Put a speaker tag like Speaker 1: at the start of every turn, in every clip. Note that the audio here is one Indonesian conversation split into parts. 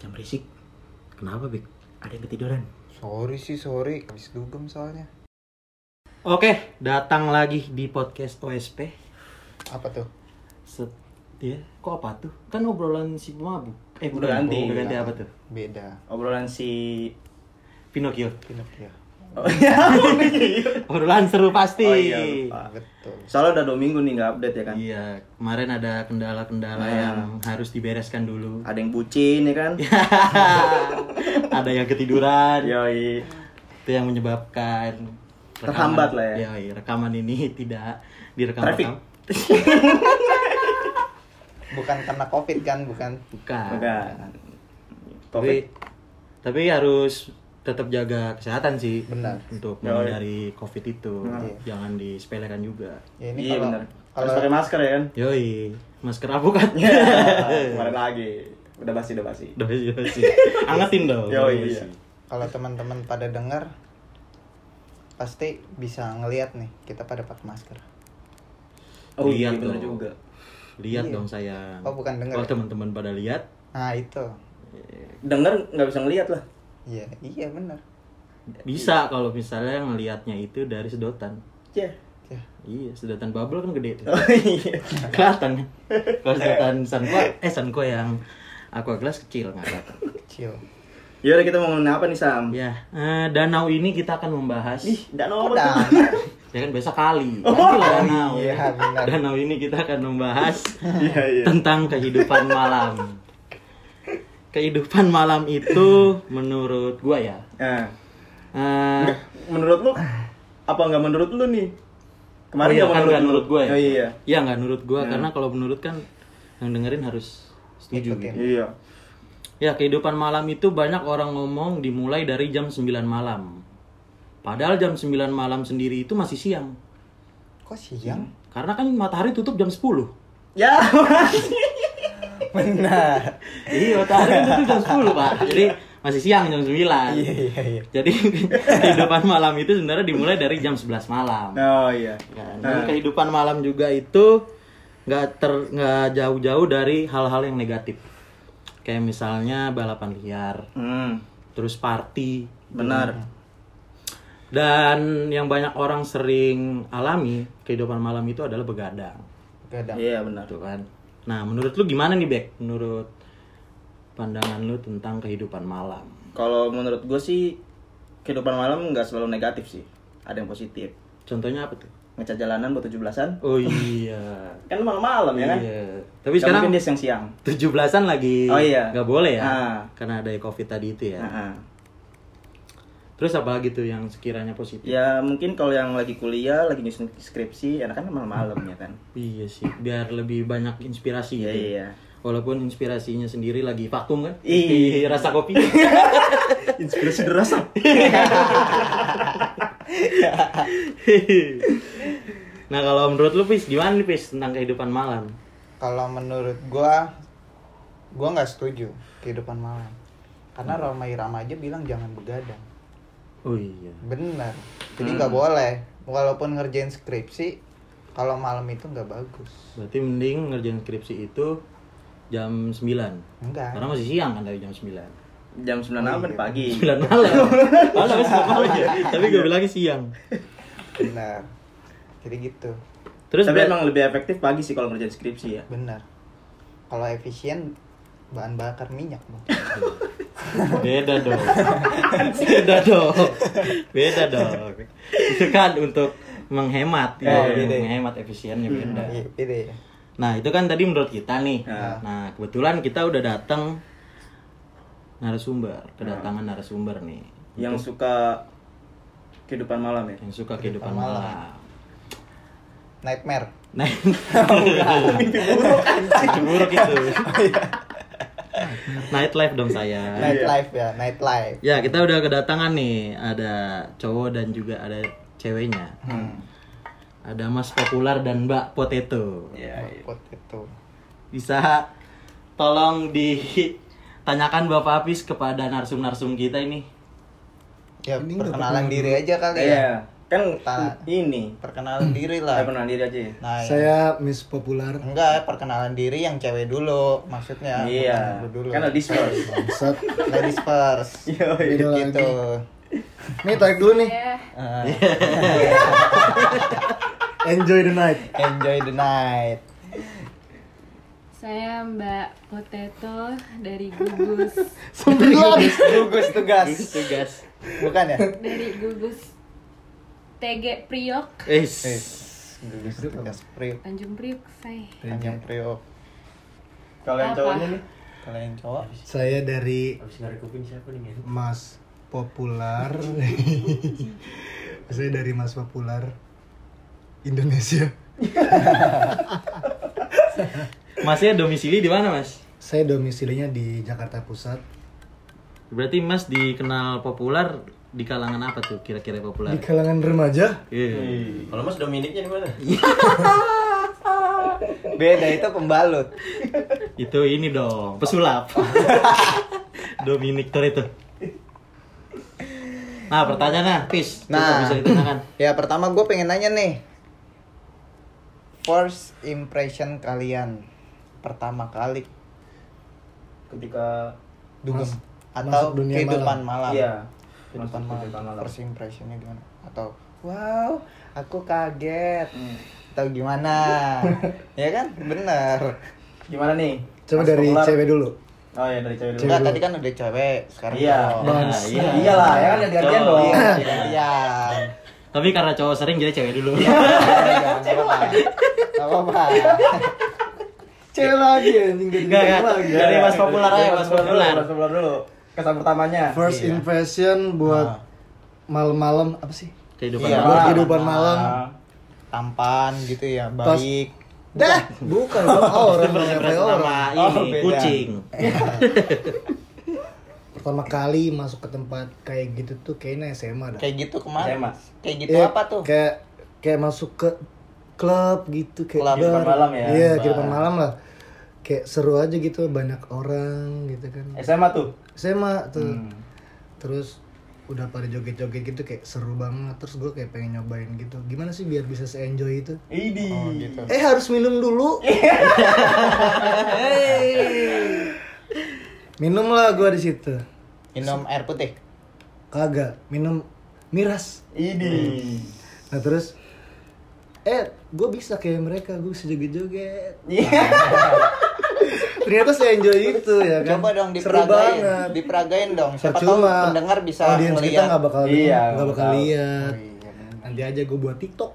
Speaker 1: Jangan berisik. Kenapa, Bik? Ada yang ketiduran.
Speaker 2: Sorry sih, sorry. Habis dugem soalnya.
Speaker 1: Oke, datang lagi di podcast OSP.
Speaker 2: Apa tuh?
Speaker 1: Set ya, kok apa tuh? Kan obrolan si pemabuk. Eh,
Speaker 3: Udah
Speaker 1: bukan.
Speaker 3: ganti.
Speaker 1: Udah ganti apa tuh?
Speaker 2: Beda. ya?
Speaker 3: obrolan si
Speaker 1: Pinocchio.
Speaker 2: Pinocchio.
Speaker 3: oh, iya.
Speaker 1: Obrolan seru pasti.
Speaker 3: Oh, iya,
Speaker 2: Ah.
Speaker 3: lupa.
Speaker 2: Betul.
Speaker 3: soalnya udah dua minggu nih nggak update ya kan
Speaker 1: Iya, kemarin ada kendala-kendala
Speaker 3: Nah.
Speaker 1: yang harus dibereskan dulu.
Speaker 3: ada yang bucin ya kan
Speaker 1: Iya. ada yang
Speaker 3: Iya.
Speaker 1: ketiduran.
Speaker 3: yoi
Speaker 1: Itu yang menyebabkan rekaman-
Speaker 3: Terhambat lah ya.
Speaker 1: Yoi, rekaman ini tidak direkam.
Speaker 3: Traffic.
Speaker 2: Bukan karena covid kan, bukan?
Speaker 1: Nah.
Speaker 3: Bukan.
Speaker 1: tapi
Speaker 3: covid
Speaker 1: tapi harus tetap jaga kesehatan sih
Speaker 2: Benar.
Speaker 1: untuk
Speaker 3: Ya,
Speaker 1: menghindari covid itu
Speaker 2: Iya.
Speaker 1: jangan disepelekan juga
Speaker 2: Ya ini
Speaker 3: iya
Speaker 2: kalau
Speaker 3: benar harus
Speaker 2: kalau
Speaker 3: pakai masker ya kan
Speaker 1: yoi masker apa kan
Speaker 2: Iya.
Speaker 3: Ya, kemarin lagi udah basi udah basi
Speaker 1: Dosi, dosi. angetin dong
Speaker 3: Yoi,
Speaker 1: dosi.
Speaker 3: iya.
Speaker 2: kalau teman-teman pada dengar pasti bisa ngelihat nih kita pada pakai masker.
Speaker 3: oh iya
Speaker 1: Lihat
Speaker 3: benar
Speaker 1: dong.
Speaker 3: juga
Speaker 1: lihat
Speaker 2: Iya.
Speaker 1: dong saya
Speaker 2: Oh, bukan denger
Speaker 1: kalau
Speaker 2: ya?
Speaker 1: teman-teman pada lihat
Speaker 2: Nah, itu.
Speaker 3: denger nggak bisa ngelihat lah
Speaker 2: Iya, iya benar. Iya.
Speaker 1: bisa kalau misalnya ngelihatnya itu dari sedotan
Speaker 3: ya
Speaker 2: Ya.
Speaker 1: iya sedotan bubble kan gede tuh
Speaker 3: oh iya
Speaker 1: kelihatan kan? kalau sedotan sanko eh sanko yang aqua glass kecil nggak kelihatan
Speaker 2: Kecil.
Speaker 3: yaudah kita mau ngomongin apa nih sam
Speaker 1: Ya, eh, danau ini kita akan membahas.
Speaker 3: ih dan nomor
Speaker 2: Udah.
Speaker 1: Ya kan besok kali.
Speaker 3: Oh,
Speaker 1: Kan danau.
Speaker 2: iya, benar.
Speaker 1: Danau ini kita akan membahas
Speaker 3: iya iya
Speaker 1: tentang kehidupan malam. Kehidupan malam itu menurut gua ya.
Speaker 3: nah,
Speaker 1: eh,
Speaker 3: nggak- menurut lu apa nggak menurut lu nih kemarin
Speaker 1: oh iya,
Speaker 3: nggak
Speaker 1: kan nggak menurut gua ya.
Speaker 3: oh, iya
Speaker 1: Iya, nggak menurut gua karena kalau menurut kan yang dengerin harus setuju
Speaker 2: Ikutin.
Speaker 1: gitu.
Speaker 3: iya
Speaker 1: Ya, kehidupan malam itu banyak orang ngomong dimulai dari jam 9 malam. Padahal jam 9 malam sendiri itu masih siang.
Speaker 2: Kok siang?
Speaker 1: Karena kan matahari tutup jam 10.
Speaker 3: ya
Speaker 2: Benar.
Speaker 1: Iya, matahari kan tutup jam 10, Pak. Jadi masih siang jam 9.
Speaker 2: Iya, iya, iya.
Speaker 1: Jadi kehidupan malam itu sebenarnya dimulai dari jam 11 malam.
Speaker 3: oh iya
Speaker 1: Kan? Dan kehidupan malam juga itu nggak ter nggak jauh-jauh dari hal-hal yang negatif. Kayak misalnya balapan liar,
Speaker 3: Hmm,
Speaker 1: terus party,
Speaker 3: benar.
Speaker 1: dan yang banyak orang sering alami kehidupan malam itu adalah begadang.
Speaker 2: Gadang.
Speaker 3: Iya, benar.
Speaker 1: Gitu kan. Nah, menurut lu gimana nih, Bek? Menurut pandangan lu tentang kehidupan malam?
Speaker 3: Kalau menurut gue sih kehidupan malam nggak selalu negatif sih. Ada yang positif.
Speaker 1: Contohnya apa tuh?
Speaker 3: Ngecat jalanan buat 17-an.
Speaker 1: Oh iya.
Speaker 3: Kan malam-malam ya kan?
Speaker 1: Iya. Tapi
Speaker 3: Nggak
Speaker 1: sekarang
Speaker 3: mungkin dia siang-siang.
Speaker 1: 17-an lagi
Speaker 3: Oh iya.
Speaker 1: nggak boleh ya.
Speaker 3: Ah.
Speaker 1: Karena ada Covid tadi itu ya.
Speaker 3: Nah, ah.
Speaker 1: Terus apa lagi tuh yang sekiranya positif?
Speaker 3: Ya mungkin kalau yang lagi kuliah, lagi nyusun skripsi, enak kan malam-malam ya kan?
Speaker 1: Iya sih, biar lebih banyak inspirasi
Speaker 3: Iya,
Speaker 1: gitu.
Speaker 3: iya.
Speaker 1: Walaupun inspirasinya sendiri lagi vakum kan? Di
Speaker 3: Iya.
Speaker 1: rasa kopi.
Speaker 3: Inspirasi derasa.
Speaker 1: nah, kalau menurut lu Pis, gimana nih Pis tentang kehidupan malam?
Speaker 2: Kalau menurut gua, gua nggak setuju kehidupan malam. Karena Roma Irama aja bilang jangan begadang.
Speaker 1: Oh iya.
Speaker 2: Bener. Jadi
Speaker 3: Hmm.
Speaker 2: nggak boleh. Walaupun ngerjain skripsi, kalau malam itu nggak bagus.
Speaker 1: Berarti mending ngerjain skripsi itu jam 9.
Speaker 2: Enggak.
Speaker 1: Karena masih siang kan dari jam 9.
Speaker 3: Jam 9 Iya. apa nih pagi?
Speaker 1: 9 malam. Malam sembilan malam ya. Tapi gue bilangnya siang.
Speaker 2: Bener. Jadi gitu.
Speaker 1: Terus
Speaker 3: Tapi
Speaker 1: ber-
Speaker 3: emang lebih efektif pagi sih kalau ngerjain skripsi ya.
Speaker 2: Bener. Kalau efisien bahan bakar minyak Bang.
Speaker 1: beda dong. Beda dong. Beda dong. Itu kan untuk menghemat ya,
Speaker 2: Oh, gitu.
Speaker 1: menghemat efisiennya beda.
Speaker 2: Iya, Ide ya.
Speaker 1: Nah, itu kan tadi menurut kita nih.
Speaker 3: Nah.
Speaker 1: Nah, kebetulan kita udah datang narasumber, kedatangan narasumber nih
Speaker 3: Yang suka kehidupan malam ya.
Speaker 1: yang suka kehidupan malam.
Speaker 2: Nightmare.
Speaker 1: Nah, mimpi buruk itu. Nightlife dong
Speaker 3: Iya.
Speaker 1: saya.
Speaker 2: Nightlife ya, nightlife.
Speaker 1: Ya, kita udah kedatangan nih. Ada cowok dan juga ada ceweknya.
Speaker 3: Hmm.
Speaker 1: Ada Mas Popular dan Mbak Potato.
Speaker 3: Iya, iya.
Speaker 2: Pot itu.
Speaker 1: Bisa tolong ditanyakan Bapak Apis kepada narsum-narsum kita ini.
Speaker 2: Ya, perkenalan diri aja kali ya.
Speaker 3: Iya. Kan
Speaker 2: Ta-
Speaker 3: ini
Speaker 2: perkenalan diri lah
Speaker 3: saya pernah diri aja ya.
Speaker 2: nah ya.
Speaker 4: Saya Miss Popular.
Speaker 2: enggak perkenalan diri yang cewek dulu maksudnya bukan
Speaker 3: Iya.
Speaker 2: lu dulu
Speaker 3: Kan ladies first.
Speaker 4: Bangsat.
Speaker 2: ladies first
Speaker 3: Iya.
Speaker 4: Beda
Speaker 2: gitu
Speaker 4: lagi. Nih tarik dulu nih.
Speaker 5: Ya,
Speaker 2: Eh,
Speaker 4: Enjoy the night.
Speaker 2: enjoy the night
Speaker 5: saya Mbak Potato dari gugus
Speaker 4: Sembilan.
Speaker 2: gugus tugas
Speaker 1: Itu gas.
Speaker 2: bukan ya
Speaker 5: dari gugus TG Priok
Speaker 2: Eh,
Speaker 1: Is.
Speaker 2: gugus tugas priok
Speaker 5: Tanjung Priok saya.
Speaker 2: Tanjung priok
Speaker 3: Kalau yang
Speaker 5: Apa?
Speaker 3: cowoknya nih
Speaker 2: kalau yang cowok
Speaker 4: Saya dari
Speaker 6: Habis narik kuping siapa nih men?
Speaker 4: Mas Popular. Saya dari Mas Popular Indonesia.
Speaker 1: Masnya domisili di mana, Mas?
Speaker 4: Saya domisilinya di Jakarta Pusat.
Speaker 1: Berarti Mas dikenal populer di kalangan apa tuh kira-kira
Speaker 4: Di
Speaker 1: populer?
Speaker 4: kalangan remaja,
Speaker 1: Iya.
Speaker 6: Kalau Mas Dominiknya di mana?
Speaker 3: Iya.
Speaker 2: beda itu pembalut
Speaker 1: Itu ini dong, pesulap. Dominic Toretto. Nah, pertanyaannya, Pis. Coba
Speaker 2: Nah.
Speaker 1: bisa ditanyakan.
Speaker 2: ya pertama gue pengen nanya nih first impression kalian pertama kali
Speaker 3: ketika
Speaker 2: dugem
Speaker 4: Mas-
Speaker 2: atau
Speaker 4: masuk dunia
Speaker 2: kehidupan malam,
Speaker 3: iya
Speaker 2: kehidupan
Speaker 3: Masuk
Speaker 2: malam.
Speaker 3: kehidupan malam.
Speaker 2: first impressionnya gimana atau wow aku kaget atau gimana ya kan bener
Speaker 3: Gimana nih?
Speaker 4: coba
Speaker 3: Mas
Speaker 4: dari
Speaker 3: Popular.
Speaker 4: cewek dulu.
Speaker 3: Oh iya dari cewek dulu.
Speaker 2: enggak tadi kan udah cewek sekarang
Speaker 3: Iya.
Speaker 2: cowok.
Speaker 1: Nah,
Speaker 4: Bangsa.
Speaker 1: iya.
Speaker 3: Iyalah, ya kan ganti gantian dong.
Speaker 2: iya gantian.
Speaker 1: Tapi karena cowok sering jadi cewek dulu.
Speaker 2: Iya, nggak apa-apa. Nggak apa-apa
Speaker 4: Cewek lagi anjing
Speaker 1: Enggak, enggak.
Speaker 2: Iya.
Speaker 1: Iya. Dari Mas Populer aja,
Speaker 3: Dari
Speaker 1: Mas Populer.
Speaker 3: Mas Popular dulu. Kesan pertamanya.
Speaker 4: First impression
Speaker 2: Ah.
Speaker 4: buat malam-malam apa sih?
Speaker 1: Kehidupan
Speaker 2: Iya.
Speaker 1: malam.
Speaker 4: Buat kehidupan malam.
Speaker 3: Ah,
Speaker 2: tampan gitu ya
Speaker 4: Pas-
Speaker 2: baik
Speaker 4: Dah, bukan Bang.
Speaker 1: First
Speaker 4: orang orang
Speaker 1: impression sama
Speaker 4: orang.
Speaker 2: Oh,
Speaker 1: ini,
Speaker 2: beda.
Speaker 1: kucing.
Speaker 4: Pertama kali masuk ke tempat kayak gitu tuh kayaknya SMA dah.
Speaker 2: kayak gitu kemana
Speaker 3: SMA.
Speaker 2: kayak gitu
Speaker 4: Iya,
Speaker 2: apa tuh
Speaker 4: Kayak kayak masuk ke klub gitu kayak
Speaker 2: Klub,
Speaker 4: bar.
Speaker 3: kehidupan malam ya?
Speaker 4: Iya,
Speaker 3: Bar.
Speaker 4: kehidupan malam lah. Kayak seru aja gitu banyak orang gitu kan.
Speaker 3: SMA tuh.
Speaker 4: SMA tuh.
Speaker 3: Eh. Hmm.
Speaker 4: Terus udah pada joget-joget gitu kayak seru banget terus gue kayak pengen nyobain gitu gimana sih biar bisa se-enjoy itu
Speaker 3: Idi.
Speaker 2: oh gitu
Speaker 4: eh harus minum dulu minum lah gue di situ
Speaker 2: minum air putih
Speaker 4: kagak minum miras
Speaker 3: Idi.
Speaker 4: nah terus eh gue bisa kayak mereka gue bisa joget-joget
Speaker 3: Iya.
Speaker 4: ternyata saya enjoy itu ya kan
Speaker 2: Coba dong
Speaker 4: seru
Speaker 2: diperagain,
Speaker 4: banget
Speaker 2: diperagain dong. Siapa
Speaker 4: Percuma.
Speaker 2: tahu pendengar bisa Oh, iya,
Speaker 4: audiens kita
Speaker 2: melihat.
Speaker 4: nggak bakal
Speaker 3: Iya,
Speaker 4: nggak bakal
Speaker 3: tahu.
Speaker 4: lihat nanti aja gue buat tiktok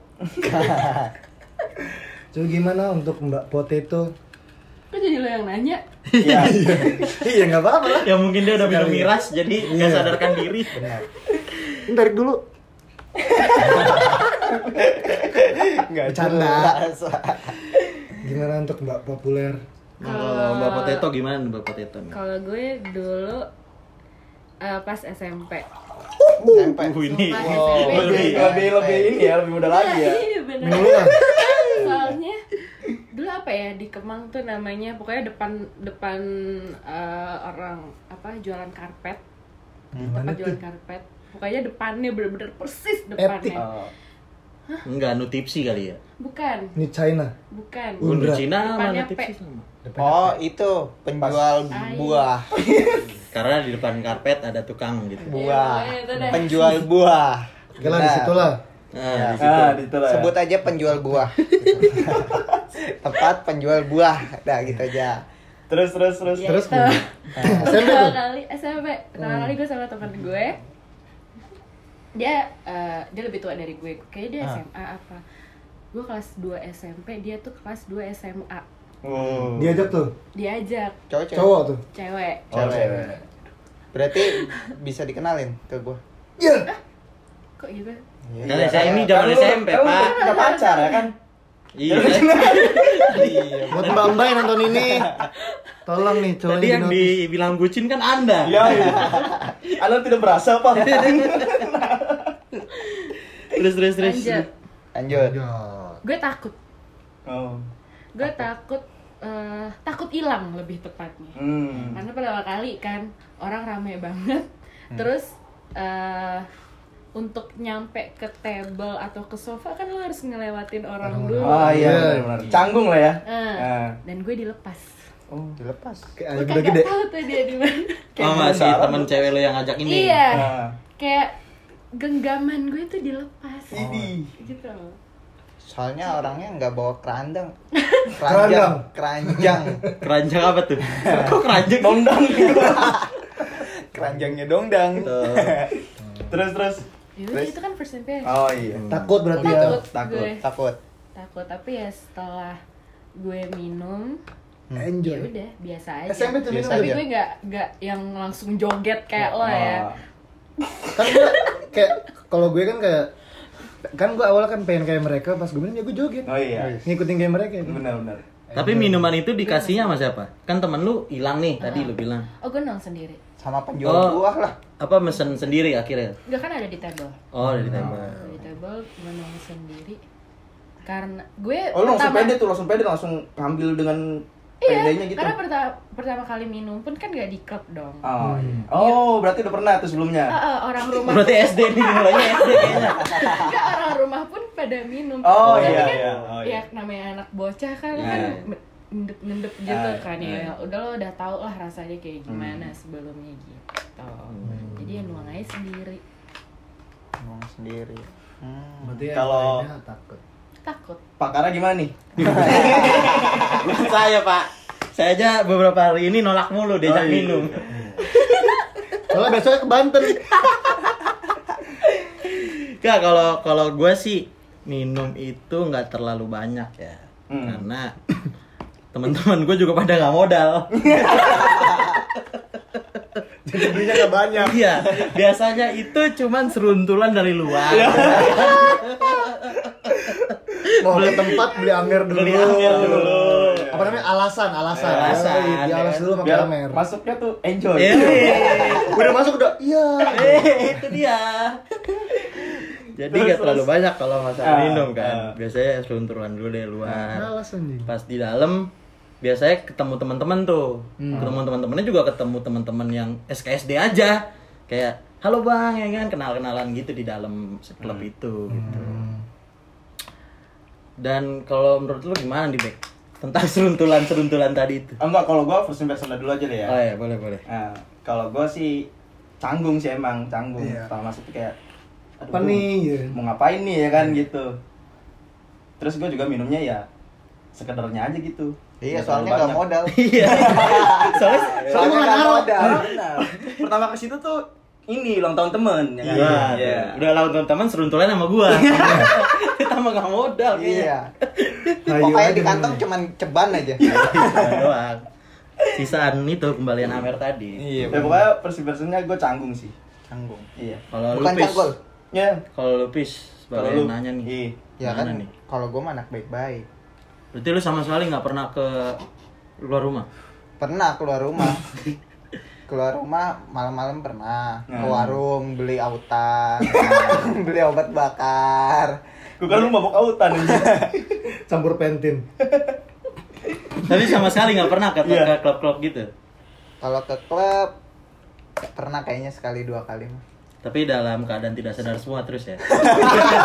Speaker 4: coba gimana untuk mbak potato
Speaker 5: Kok jadi lo yang nanya?
Speaker 3: Iya.
Speaker 4: iya nggak apa-apa lah
Speaker 1: Ya mungkin dia udah minum
Speaker 4: Sekali.
Speaker 1: miras jadi
Speaker 2: Iya.
Speaker 1: nggak sadarkan diri.
Speaker 4: Ini tarik dulu
Speaker 2: Nggak
Speaker 4: Bercanda. Uh.
Speaker 2: jelas.
Speaker 4: gimana untuk mbak populer
Speaker 1: Kalau Mbak Potato gimana Mbak Potato? nih?
Speaker 5: Kalau gue dulu eh, pas SMP.
Speaker 2: Sampai.
Speaker 4: Uhuh.
Speaker 1: Uh, ini.
Speaker 5: Sumpah,
Speaker 1: Wow,
Speaker 5: SMP.
Speaker 1: lebih.
Speaker 3: Oh, Lebih lebih lebih ini ya, lebih muda lagi ya.
Speaker 5: Iya bener.
Speaker 4: minum dulu lah
Speaker 5: Soalnya dulu apa ya di Kemang tuh namanya pokoknya depan depan eh, orang apa jualan karpet.
Speaker 4: gimana
Speaker 5: tempat
Speaker 4: tuh
Speaker 5: jualan karpet. Pokoknya depannya bener-bener persis
Speaker 4: Epic.
Speaker 5: depannya.
Speaker 3: Oh.
Speaker 1: Enggak, nu tipsi kali ya.
Speaker 5: Bukan,
Speaker 4: ini China
Speaker 5: bukan.
Speaker 4: Uh,
Speaker 1: Nu
Speaker 4: Undra.
Speaker 1: Cina
Speaker 5: Depannya
Speaker 1: mana
Speaker 5: P.
Speaker 1: tipsi sama?
Speaker 2: Oh itu penjual buah,
Speaker 1: Karena di depan karpet ada tukang gitu.
Speaker 2: buah,
Speaker 5: Iya, itu deh.
Speaker 2: penjual buah. Nah,
Speaker 4: oke lah di situ lah
Speaker 1: Nah, di situ.
Speaker 3: Ah, di situ lah. ya.
Speaker 2: Sebut aja penjual buah. Tempat penjual buah, dah gitu aja.
Speaker 3: Terus terus terus.
Speaker 5: Ya,
Speaker 4: terus
Speaker 5: itu.
Speaker 4: gimana? SMP
Speaker 5: pertama
Speaker 4: tuh? Hmm.
Speaker 5: kali SMP pertama kali gue sama teman gue dia eh, dia lebih tua dari gue
Speaker 4: Ah.
Speaker 5: kayaknya dia SMA apa gue kelas 2 SMP dia tuh kelas 2 SMA
Speaker 3: Oh.
Speaker 4: diajak tuh
Speaker 5: diajak
Speaker 2: Cowok, cewek?
Speaker 4: cowok tuh
Speaker 5: cewek
Speaker 3: Oh, cewek.
Speaker 2: Berarti bisa dikenalin ke gua.
Speaker 4: iya
Speaker 5: kok gitu
Speaker 1: Kan saya ini zaman SMP,
Speaker 4: kan
Speaker 3: Kamu
Speaker 1: Pak.
Speaker 3: udah pacar ya kan?
Speaker 1: Iya.
Speaker 4: buat mbak mbak yang nonton ini tolong nih cowok
Speaker 1: Tadi yang
Speaker 4: notice.
Speaker 1: dibilang bucin kan Anda.
Speaker 3: Iya. iya. Anda tidak berasa, Pak.
Speaker 1: Terus terus terus.
Speaker 5: lanjut
Speaker 2: Lanjut.
Speaker 4: Ya.
Speaker 5: gue takut
Speaker 3: Oh.
Speaker 5: gue takut eh, takut hilang lebih tepatnya
Speaker 3: Hmm.
Speaker 5: karena pertama kali kan orang rame banget terus eh untuk nyampe ke table atau ke sofa kan lo harus ngelewatin orang dulu.
Speaker 3: Oh iya, benar-benar. Canggung lah ya.
Speaker 5: Eh,
Speaker 3: Eh,
Speaker 5: Dan gue dilepas.
Speaker 3: oh.
Speaker 2: dilepas
Speaker 4: kayak aja
Speaker 5: Gue
Speaker 4: udah
Speaker 5: kagak
Speaker 4: gede
Speaker 5: tahu tuh dia di mana.
Speaker 1: Oh, masih temen cewek lo yang ngajak ini.
Speaker 5: Iya.
Speaker 3: Ah.
Speaker 5: Kayak genggaman gue tuh dilepas.
Speaker 3: Oh.
Speaker 5: Gitu.
Speaker 2: soalnya orangnya nggak bawa kerandang keranjang keranjang
Speaker 1: Keranjang apa tuh? Kok keranjang?
Speaker 3: Dondang gitu.
Speaker 2: keranjangnya dongdang
Speaker 3: terus terus.
Speaker 5: Ya udah, itu kan first impression.
Speaker 3: Oh iya.
Speaker 4: takut berarti ya
Speaker 5: takut,
Speaker 3: takut.
Speaker 5: gue.
Speaker 2: takut
Speaker 5: Takut tapi ya setelah gue minum
Speaker 4: Hmm.
Speaker 5: ya
Speaker 4: enjoy Eh,
Speaker 5: udah biasa aja.
Speaker 4: SMP tuh
Speaker 2: Biasa
Speaker 4: minum
Speaker 5: tapi
Speaker 2: aja.
Speaker 5: gue gak, gak yang langsung joget kayak lo ya
Speaker 3: Ah.
Speaker 4: kan gue kayak kalau gue kan kayak kan gue awalnya kan pengen kayak mereka pas gue minum ya gue joget
Speaker 3: Oh iya.
Speaker 4: ngikutin kayak mereka gitu.
Speaker 3: Benar-benar.
Speaker 1: Tapi minuman itu dikasihnya sama siapa? Kan temen lu hilang nih tadi lu bilang.
Speaker 5: oh gue nong sendiri
Speaker 2: sama penjual
Speaker 1: Oh.
Speaker 2: buah lah
Speaker 1: Apa mesen sendiri akhirnya?
Speaker 5: gak kan ada di table
Speaker 1: Oh, dari
Speaker 3: Iya.
Speaker 1: tembak.
Speaker 5: Ada di table gue nong sendiri karena gue
Speaker 3: Oh lu langsung pede tuh, langsung pede langsung ngambil dengan
Speaker 5: iya
Speaker 3: pedenya gitu.
Speaker 5: karena pertama pertama kali minum pun kan gak di klub dong
Speaker 3: Oh, iya. oh berarti udah pernah tuh
Speaker 5: Eh,
Speaker 3: sebelumnya.
Speaker 5: eh, orang rumah
Speaker 1: Berarti SD nih mulainya SD kayaknya.
Speaker 5: Enggak, orang rumah pun pada minum
Speaker 3: Oh,
Speaker 5: Tapi
Speaker 3: iya,
Speaker 5: kan,
Speaker 3: iya. Oh, iya.
Speaker 5: ya namanya anak bocah kan
Speaker 3: Iya.
Speaker 5: kan nendep nendep gitu
Speaker 3: Iya,
Speaker 5: kan
Speaker 3: iya. Hmm.
Speaker 5: ya udah lo udah tau lah rasanya kayak gimana sebelumnya gitu jadi ya nuang aja sendiri
Speaker 2: ngomong sendiri hmm.
Speaker 4: berarti yang
Speaker 3: Kalau-
Speaker 4: lainnya takut
Speaker 5: takut
Speaker 3: Pakarnya gimana nih?
Speaker 1: saya, Pak. Saya aja beberapa hari ini nolak mulu diajak
Speaker 3: Oh, iya.
Speaker 1: minum.
Speaker 4: soalnya besoknya ke Banten
Speaker 1: Enggak, kalau kalau gue sih minum itu nggak terlalu banyak ya.
Speaker 3: Hmm.
Speaker 1: Karena teman-teman gue juga pada nggak modal.
Speaker 4: jadi belinya gak banyak
Speaker 1: Iya, biasanya itu cuman seruntulan dari luar.
Speaker 4: Iya. mau ke tempat beli amer dulu
Speaker 1: Beli amer dulu.
Speaker 4: apa namanya alasan alasan
Speaker 1: Alasan,
Speaker 4: Yoi, di
Speaker 1: ya
Speaker 4: alas
Speaker 1: kan?
Speaker 4: dulu pakai
Speaker 3: Biar
Speaker 4: amer
Speaker 3: masuknya tuh enjoy.
Speaker 1: Iya.
Speaker 4: udah masuk udah iya
Speaker 1: Eh, itu dia. Jadi
Speaker 3: Terus,
Speaker 1: nggak terlalu
Speaker 3: terus.
Speaker 1: banyak kalau masalah
Speaker 3: Ah,
Speaker 1: minum kan.
Speaker 3: ah.
Speaker 1: Biasanya seruntulan dulu dari luar.
Speaker 4: alasan nih
Speaker 1: pas di dalam biasanya ketemu teman-teman tuh
Speaker 3: Hmm.
Speaker 1: ketemu teman-temannya juga ketemu teman-teman yang SKSD aja kayak halo bang ya kan kenal-kenalan gitu di dalam klub
Speaker 3: Hmm.
Speaker 1: itu gitu dan kalau menurut lu gimana di Bek? tentang seruntulan-seruntulan tadi itu
Speaker 3: Oh, enggak, kalau gua first impression dulu aja deh ya.
Speaker 1: oh ya boleh boleh
Speaker 3: Nah, kalau gua sih canggung sih emang, canggung.
Speaker 4: Iya.
Speaker 3: Pertama masuk tuh kayak aduh,
Speaker 4: apa nih ya?
Speaker 3: mau ngapain nih ya kan gitu. Terus gua juga minumnya ya sekedarnya aja gitu.
Speaker 2: iya
Speaker 3: Nggak
Speaker 2: soalnya
Speaker 3: terlalu
Speaker 2: nggak
Speaker 3: banyak.
Speaker 2: modal
Speaker 1: iya
Speaker 3: Ah,
Speaker 1: soalnya
Speaker 2: soalnya
Speaker 3: kan
Speaker 2: nggak modal
Speaker 3: Pertama ke situ tuh ini ulang tahun temen ya kan?
Speaker 1: iya udah lah teman-teman seruntulan sama gua kita mah nggak modal kayaknya
Speaker 2: iya pokoknya di kantong
Speaker 4: aduh.
Speaker 2: cuman ceban aja
Speaker 1: Sisaan doang sisaan itu kembalian Amer tadi
Speaker 2: iya
Speaker 3: Ya pokoknya first impressionnya gue canggung sih.
Speaker 2: canggung
Speaker 3: Iya.
Speaker 1: Kalau
Speaker 2: bukan
Speaker 1: lupis,
Speaker 2: cangkul
Speaker 3: Ya.
Speaker 1: kalau lupis sebagai
Speaker 3: Kalau lu-
Speaker 1: nanya nih.
Speaker 3: Iya.
Speaker 2: ya
Speaker 1: Gimana
Speaker 2: kan
Speaker 1: nih?
Speaker 2: kalau gue mah anak baik-baik
Speaker 1: Berarti lu sama sekali nggak pernah ke luar rumah.
Speaker 2: pernah keluar rumah keluar rumah malam-malam pernah ke
Speaker 3: Hmm.
Speaker 2: warung beli autan beli obat bakar
Speaker 3: Gue kan lu mabok autan anjing.
Speaker 4: campur pentin
Speaker 1: Tapi sama sekali nggak pernah ke
Speaker 3: Iya.
Speaker 1: ke klub-klub gitu.
Speaker 2: kalau ke klub pernah kayaknya sekali dua kali mah
Speaker 1: Tapi dalam keadaan tidak sadar semua terus ya.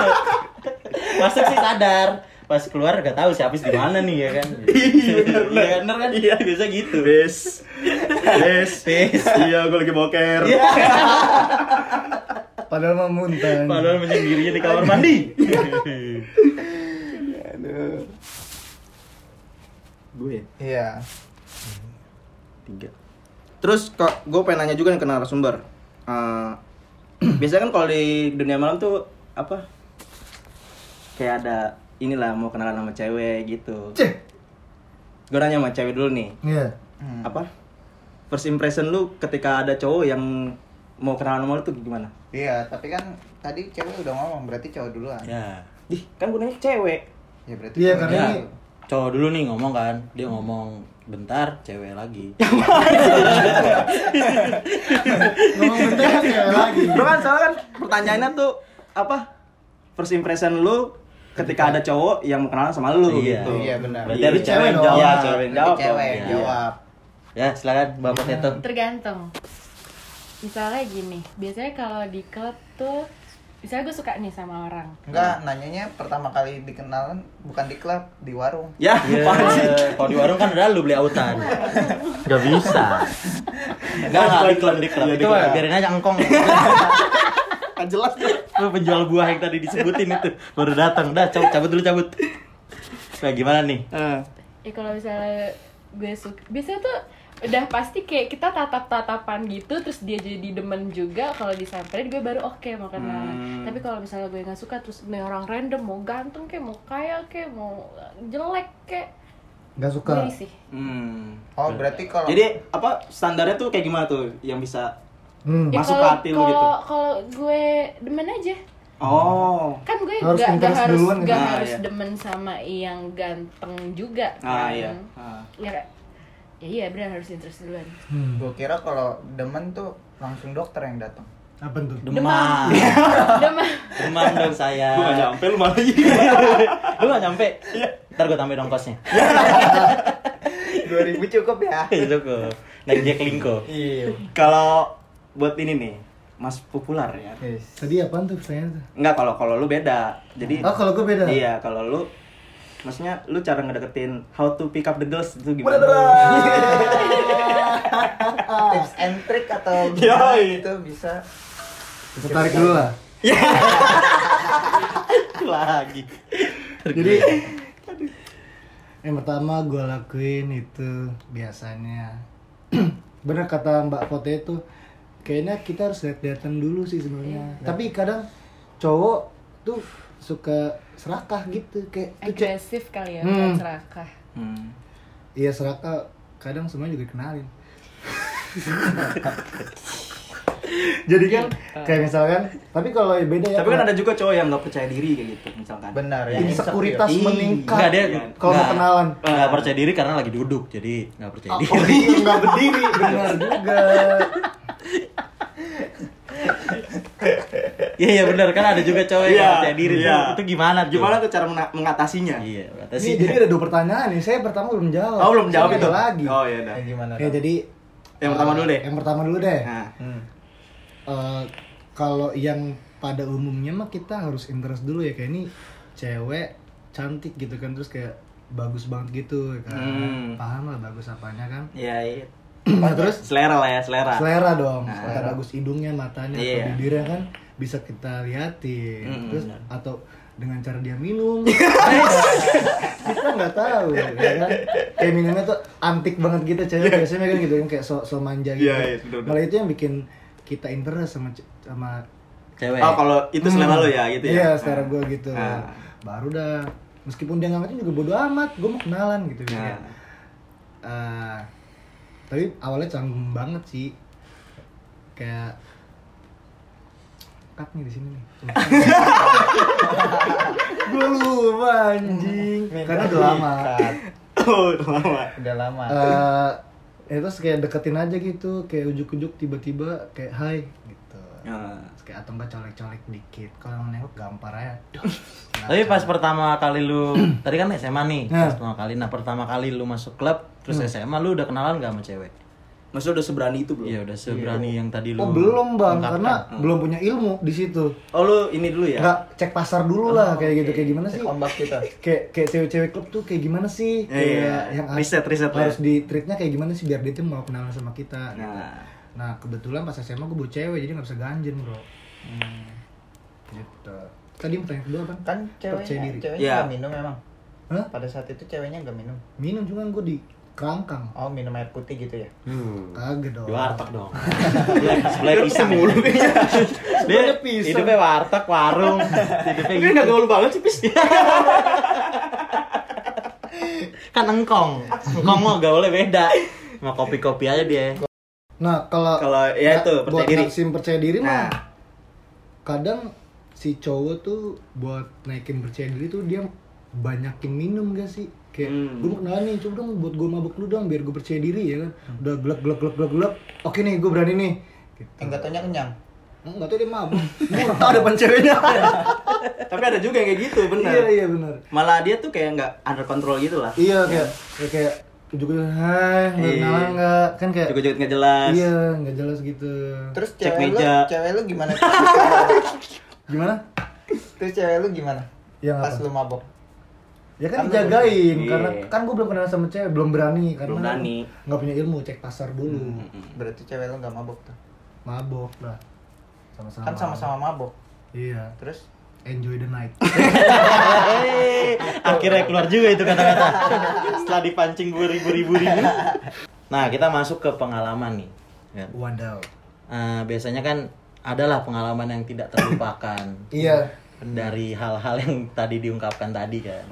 Speaker 1: Masuk sih sadar, pas keluar gak tahu si habis di mana nih ya kan. Iya benar kan? Iya biasa gitu.
Speaker 3: Bes. Bes.
Speaker 1: Bes.
Speaker 3: Iya, gue lagi boker.
Speaker 1: Iya.
Speaker 4: padahal mah muntah
Speaker 1: Padahal menyendirinya di kamar mandi. Gue ya,
Speaker 2: iya
Speaker 1: tiga.
Speaker 3: Terus kok gue pengen nanya juga nih ke narasumber. Eh, biasanya kan kalau di dunia malam tuh apa? Kayak ada inilah mau kenalan sama cewek gitu.
Speaker 4: Cih.
Speaker 3: Gue nanya sama cewek dulu nih.
Speaker 4: iya
Speaker 1: Hmm.
Speaker 2: Hmm.
Speaker 3: Apa? First impression lu ketika ada cowok yang mau kenalan sama lu tuh gimana?
Speaker 2: iya tapi kan tadi cewek udah ngomong berarti cowok duluan ya,
Speaker 1: Ya.
Speaker 3: Ih, kan gue nanya ke cewek.
Speaker 2: berarti
Speaker 4: iya
Speaker 2: cowok
Speaker 4: karena
Speaker 1: Ya,
Speaker 4: ini
Speaker 1: cowok dulu nih ngomong kan, dia ngomong bentar, cewek lagi.
Speaker 4: ngomong bentar kan kayak lagi
Speaker 3: Bro kan soalnya kan pertanyaannya tuh apa? First impression lu ketika ada cowok yang mau kenalan sama lu
Speaker 1: Iya.
Speaker 3: gitu.
Speaker 2: duluan. iya benar
Speaker 1: Berarti
Speaker 3: Iya.
Speaker 1: ada cewek yang
Speaker 4: Cewek
Speaker 1: jawab.
Speaker 4: dong.
Speaker 3: Iya, cewek yang
Speaker 2: Berarti
Speaker 3: jawab.
Speaker 2: cewek
Speaker 3: dong.
Speaker 2: yang
Speaker 3: Iya.
Speaker 2: jawap
Speaker 1: Ya, silakan Bapak Teto.
Speaker 5: tergantung misalnya gini biasanya kalau di klub tuh misalnya gue suka nih sama orang
Speaker 2: Enggak, nanyanya pertama kali dikenalan bukan di klub, di warung.
Speaker 3: Ya,
Speaker 1: Iya.
Speaker 3: apaan sih?
Speaker 1: Kalau di warung kan ada lu beli autan.
Speaker 7: Gak bisa.
Speaker 1: Enggak enggak diklan diklan. Ya, Itu mah biarin aja engkong.
Speaker 3: Nggak jelas deh.
Speaker 1: Lu penjual buah yang tadi disebutin itu baru datang. Dah cabut cabut dulu cabut. Nah, gimana nih?
Speaker 3: Eh,
Speaker 5: ya kalau misalnya gue suka biasanya tuh udah pasti kayak kita tatap tatapan gitu terus dia jadi demen juga kalau disamperin gue baru oke mau kenalan
Speaker 3: Hmm.
Speaker 5: tapi kalau misalnya gue nggak suka terus nih orang random mau ganteng kayak mau kaya kayak mau jelek kayak
Speaker 4: Gak suka.
Speaker 5: gue Iya sih
Speaker 3: Hmm.
Speaker 2: Oh, berarti kalau
Speaker 3: Jadi apa standarnya tuh kayak gimana tuh yang bisa
Speaker 4: Hmm.
Speaker 5: ya
Speaker 3: Masuk
Speaker 5: kalau
Speaker 3: ke hati lu
Speaker 5: kalau
Speaker 3: gitu.
Speaker 5: kalau gue demen aja
Speaker 3: Oh.
Speaker 5: kan gue
Speaker 4: Harus
Speaker 5: nggak nggak
Speaker 4: interest
Speaker 5: harus
Speaker 4: duluan
Speaker 5: nggak
Speaker 3: gitu. Ah,
Speaker 5: harus
Speaker 3: iya.
Speaker 5: demen sama yang ganteng juga
Speaker 3: Ah
Speaker 4: Hmm.
Speaker 5: kan.
Speaker 3: iya. Ah.
Speaker 5: ya ya iya benar harus interest duluan
Speaker 4: Hmm.
Speaker 2: gua kira kalau demen tuh langsung dokter yang datang.
Speaker 4: Apa tuh?
Speaker 1: Demam.
Speaker 5: demen
Speaker 1: Demam dong saya.
Speaker 3: Gua nggak nyampe Iya. lu malah
Speaker 1: Lu gak nyampe? Ntar gue tambahin ongkosnya
Speaker 2: 2000 cukup ya.
Speaker 1: Itu gue Naik Jack Linko
Speaker 2: Iya.
Speaker 3: Nah, Kalau buat ini nih, Mas Popular ya.
Speaker 4: Tadi apaan tuh pertanyaan tuh?
Speaker 3: Enggak kalau kalau lu beda. Jadi
Speaker 4: Oh, kalau gue beda.
Speaker 3: Iya, kalau lu maksudnya lu cara ngedeketin how to pick up the girls itu gimana?
Speaker 2: Tips and trick atau gimana
Speaker 3: Yoi.
Speaker 2: gitu bisa.
Speaker 4: Kita tarik dulu lah.
Speaker 3: Iya. Lagi.
Speaker 4: Jadi yang pertama gue lakuin itu biasanya bener kata Mbak Pote itu kayaknya kita harus lihat-lihatan dulu sih sebenarnya. Tapi kadang cowok tuh suka serakah gitu kayak tuh cewek-
Speaker 5: agresif kali ya
Speaker 4: Hmm.
Speaker 5: bukan serakah
Speaker 3: Hmm.
Speaker 4: Iya serakah kadang semuanya juga dikenalin. Jadi kan kayak misalkan, tapi kalau beda
Speaker 3: Ah.
Speaker 4: ya.
Speaker 3: Tapi kan ada juga cowok yang nggak percaya diri kayak gitu misalkan.
Speaker 2: Benar ya.
Speaker 4: insekuritas
Speaker 3: Iya.
Speaker 4: meningkat.
Speaker 1: Enggak dia
Speaker 4: kalau mau kenalan.
Speaker 1: Gak percaya diri karena lagi duduk Jadi gak percaya diri
Speaker 4: Oh iya nggak berdiri, benar juga.
Speaker 1: Iya iya bener kan ada juga cowok yang
Speaker 3: Iya,
Speaker 1: nggak percaya diri
Speaker 3: iya.
Speaker 1: tuh. Itu gimana tuh?
Speaker 3: Gimana tuh cara mena- mengatasinya?
Speaker 1: Iya kata
Speaker 4: Ini
Speaker 1: sih
Speaker 4: jadi ada dua pertanyaan nih. Saya pertama belum jawab.
Speaker 3: Oh, belum jawab
Speaker 4: Saya
Speaker 3: itu.
Speaker 4: ada lagi.
Speaker 3: Oh, iya dah.
Speaker 2: Kayak gimana?
Speaker 4: Ya
Speaker 2: dong?
Speaker 4: jadi
Speaker 3: Yang pertama
Speaker 4: eh,
Speaker 3: dulu deh.
Speaker 4: Yang pertama dulu deh.
Speaker 3: Nah,
Speaker 2: Hmm.
Speaker 4: Eh, kalau yang pada umumnya mah kita harus interest dulu ya kayak ini cewek cantik gitu kan terus kayak bagus banget gitu ya kan.
Speaker 3: Hmm.
Speaker 4: Paham lah bagus apanya kan.
Speaker 3: iya, iya.
Speaker 4: Nah, terus
Speaker 3: Selera lah ya, selera.
Speaker 4: selera dong
Speaker 3: Nah.
Speaker 4: selera bagus hidungnya matanya
Speaker 3: Iya.
Speaker 4: atau bibirnya kan bisa kita liatin
Speaker 3: Mm-mm,
Speaker 4: terus
Speaker 3: benar.
Speaker 4: atau dengan cara dia minum kita nggak tahu ya kan kayak minumnya tuh antik banget gitu cewek biasanya kan gitu kan kayak so, so manja gitu
Speaker 3: Iya, iya, betul-betul.
Speaker 4: malah itu yang bikin kita interest sama ce- sama
Speaker 1: Cewek
Speaker 3: Oh, kalau itu selera lo ya gitu ya.
Speaker 4: Hmm. iya selera gue gitu
Speaker 3: Ah.
Speaker 4: baru dah meskipun dia nggak ngerti juga bodo amat gue mau kenalan gitu
Speaker 3: Nah.
Speaker 4: ya tapi awalnya canggung banget sih kayak cut nih di sini nih gue lupa anjing karena udah lama
Speaker 2: Cut.
Speaker 3: Oh, udah lama.
Speaker 2: Udah lama.
Speaker 4: Eh, ya terus kayak deketin aja gitu kayak ujuk-ujuk tiba-tiba kayak hai gitu
Speaker 3: Nah.
Speaker 4: Terus kayak atau enggak colek-colek dikit kalau mau nengok gampar aja Duh,
Speaker 1: Tapi pas pertama kali lu Tadi kan SMA nih
Speaker 4: Nah.
Speaker 1: pas pertama kali Nah pertama kali lu masuk klub Terus
Speaker 4: Hmm.
Speaker 1: SMA lu udah kenalan gak sama cewek?
Speaker 3: Maksudnya udah seberani itu belum?
Speaker 1: Iya udah seberani yang tadi lu
Speaker 4: Oh belum bang,
Speaker 1: ungkapkan.
Speaker 4: karena belum punya ilmu di situ.
Speaker 3: Oh, lu ini dulu ya? Oh,
Speaker 4: Nggak cek pasar dulu lah kayak gitu kayak gimana sih?
Speaker 2: Cek ombak Oh, kita.
Speaker 4: Kayak kayak cewek-cewek klub tuh kayak gimana sih?
Speaker 3: Iya, iya.
Speaker 4: Kayak yang har-
Speaker 3: Riset, riset lah
Speaker 4: harus di treatnya kayak gimana sih biar dia tuh mau kenalan sama kita. gitu.
Speaker 3: Nah.
Speaker 4: Nah kebetulan pas SMA gue bawa cewek jadi nggak bisa ganjen bro.
Speaker 3: Hmm.
Speaker 4: Gitu. Tadi pertanyaan kedua bang?
Speaker 2: Kan
Speaker 4: Percaya
Speaker 2: ceweknya,
Speaker 4: diri.
Speaker 2: ceweknya
Speaker 3: Iya.
Speaker 2: nggak minum emang.
Speaker 4: Hah?
Speaker 2: Pada saat itu ceweknya nggak minum.
Speaker 4: Minum cuma gue di kerangkang.
Speaker 2: Oh, minum air putih gitu ya.
Speaker 1: Hmm.
Speaker 4: Kagak dong.
Speaker 1: Di warteg dong. Sebelah sebelah pisang. Dia
Speaker 4: Sebelahnya pisang.
Speaker 1: hidupnya warteg, warung. Hidupnya
Speaker 3: Ini
Speaker 1: gitu.
Speaker 3: nggak gaul banget sih, Pis.
Speaker 1: Kan engkong. Engkong mah gaulnya beda. Mau kopi-kopi aja dia.
Speaker 4: Nah kalau
Speaker 3: Kalau ya itu
Speaker 4: Nah,
Speaker 3: percaya
Speaker 4: buat
Speaker 3: diri.
Speaker 4: naksin percaya diri mah
Speaker 3: Nah.
Speaker 4: kadang si cowok tuh buat naikin percaya diri tuh dia banyakin minum gak sih kayak
Speaker 3: Hmm.
Speaker 4: gue mau kenalan nih coba dong buat gue mabuk lu dong biar gue percaya diri ya kan
Speaker 3: Hmm.
Speaker 4: udah gelek gelek gelek gelek gelek oke nih gue berani nih gitu.
Speaker 2: Enggak taunya kenyang.
Speaker 4: nggak tau dia mabuk muntah depan ceweknya
Speaker 3: Tapi ada juga yang kayak gitu, bener.
Speaker 4: iya iya benar
Speaker 3: Malah dia tuh kayak nggak under control gitu lah.
Speaker 4: iya kayak kayak, kayak ujuk-ujuk, hai mau
Speaker 3: Iya.
Speaker 4: kenalan nggak kan kayak
Speaker 3: Juga-juga nggak jelas.
Speaker 4: iya nggak jelas gitu
Speaker 2: Terus
Speaker 3: Cek
Speaker 2: cewek lu,
Speaker 3: meja.
Speaker 2: cewek lu gimana?
Speaker 4: Gimana?
Speaker 2: Terus cewek lu gimana?
Speaker 4: Yang
Speaker 2: Pas
Speaker 4: apa?
Speaker 2: lu mabok.
Speaker 4: Ya
Speaker 2: Kan
Speaker 4: kan
Speaker 2: lu-
Speaker 4: dijagain
Speaker 3: Iya.
Speaker 4: karena kan gue belum kenal sama cewek, belum berani karena
Speaker 3: Belum berani. Hmm.
Speaker 4: nggak punya ilmu, cek pasar dulu.
Speaker 2: Berarti cewek lu gak mabok tuh.
Speaker 4: Mabok lah. Sama-sama.
Speaker 2: Kan sama-sama mabok.
Speaker 4: Iya,
Speaker 2: Terus
Speaker 4: enjoy the night.
Speaker 1: Hei, akhirnya keluar juga itu kata-kata setelah dipancing beribu-ribu ribu nah kita masuk ke pengalaman nih Ya.
Speaker 4: Wadaw.
Speaker 1: Eh, biasanya kan adalah pengalaman yang tidak terlupakan
Speaker 4: Iya.
Speaker 1: dari hal-hal yang tadi diungkapkan tadi kan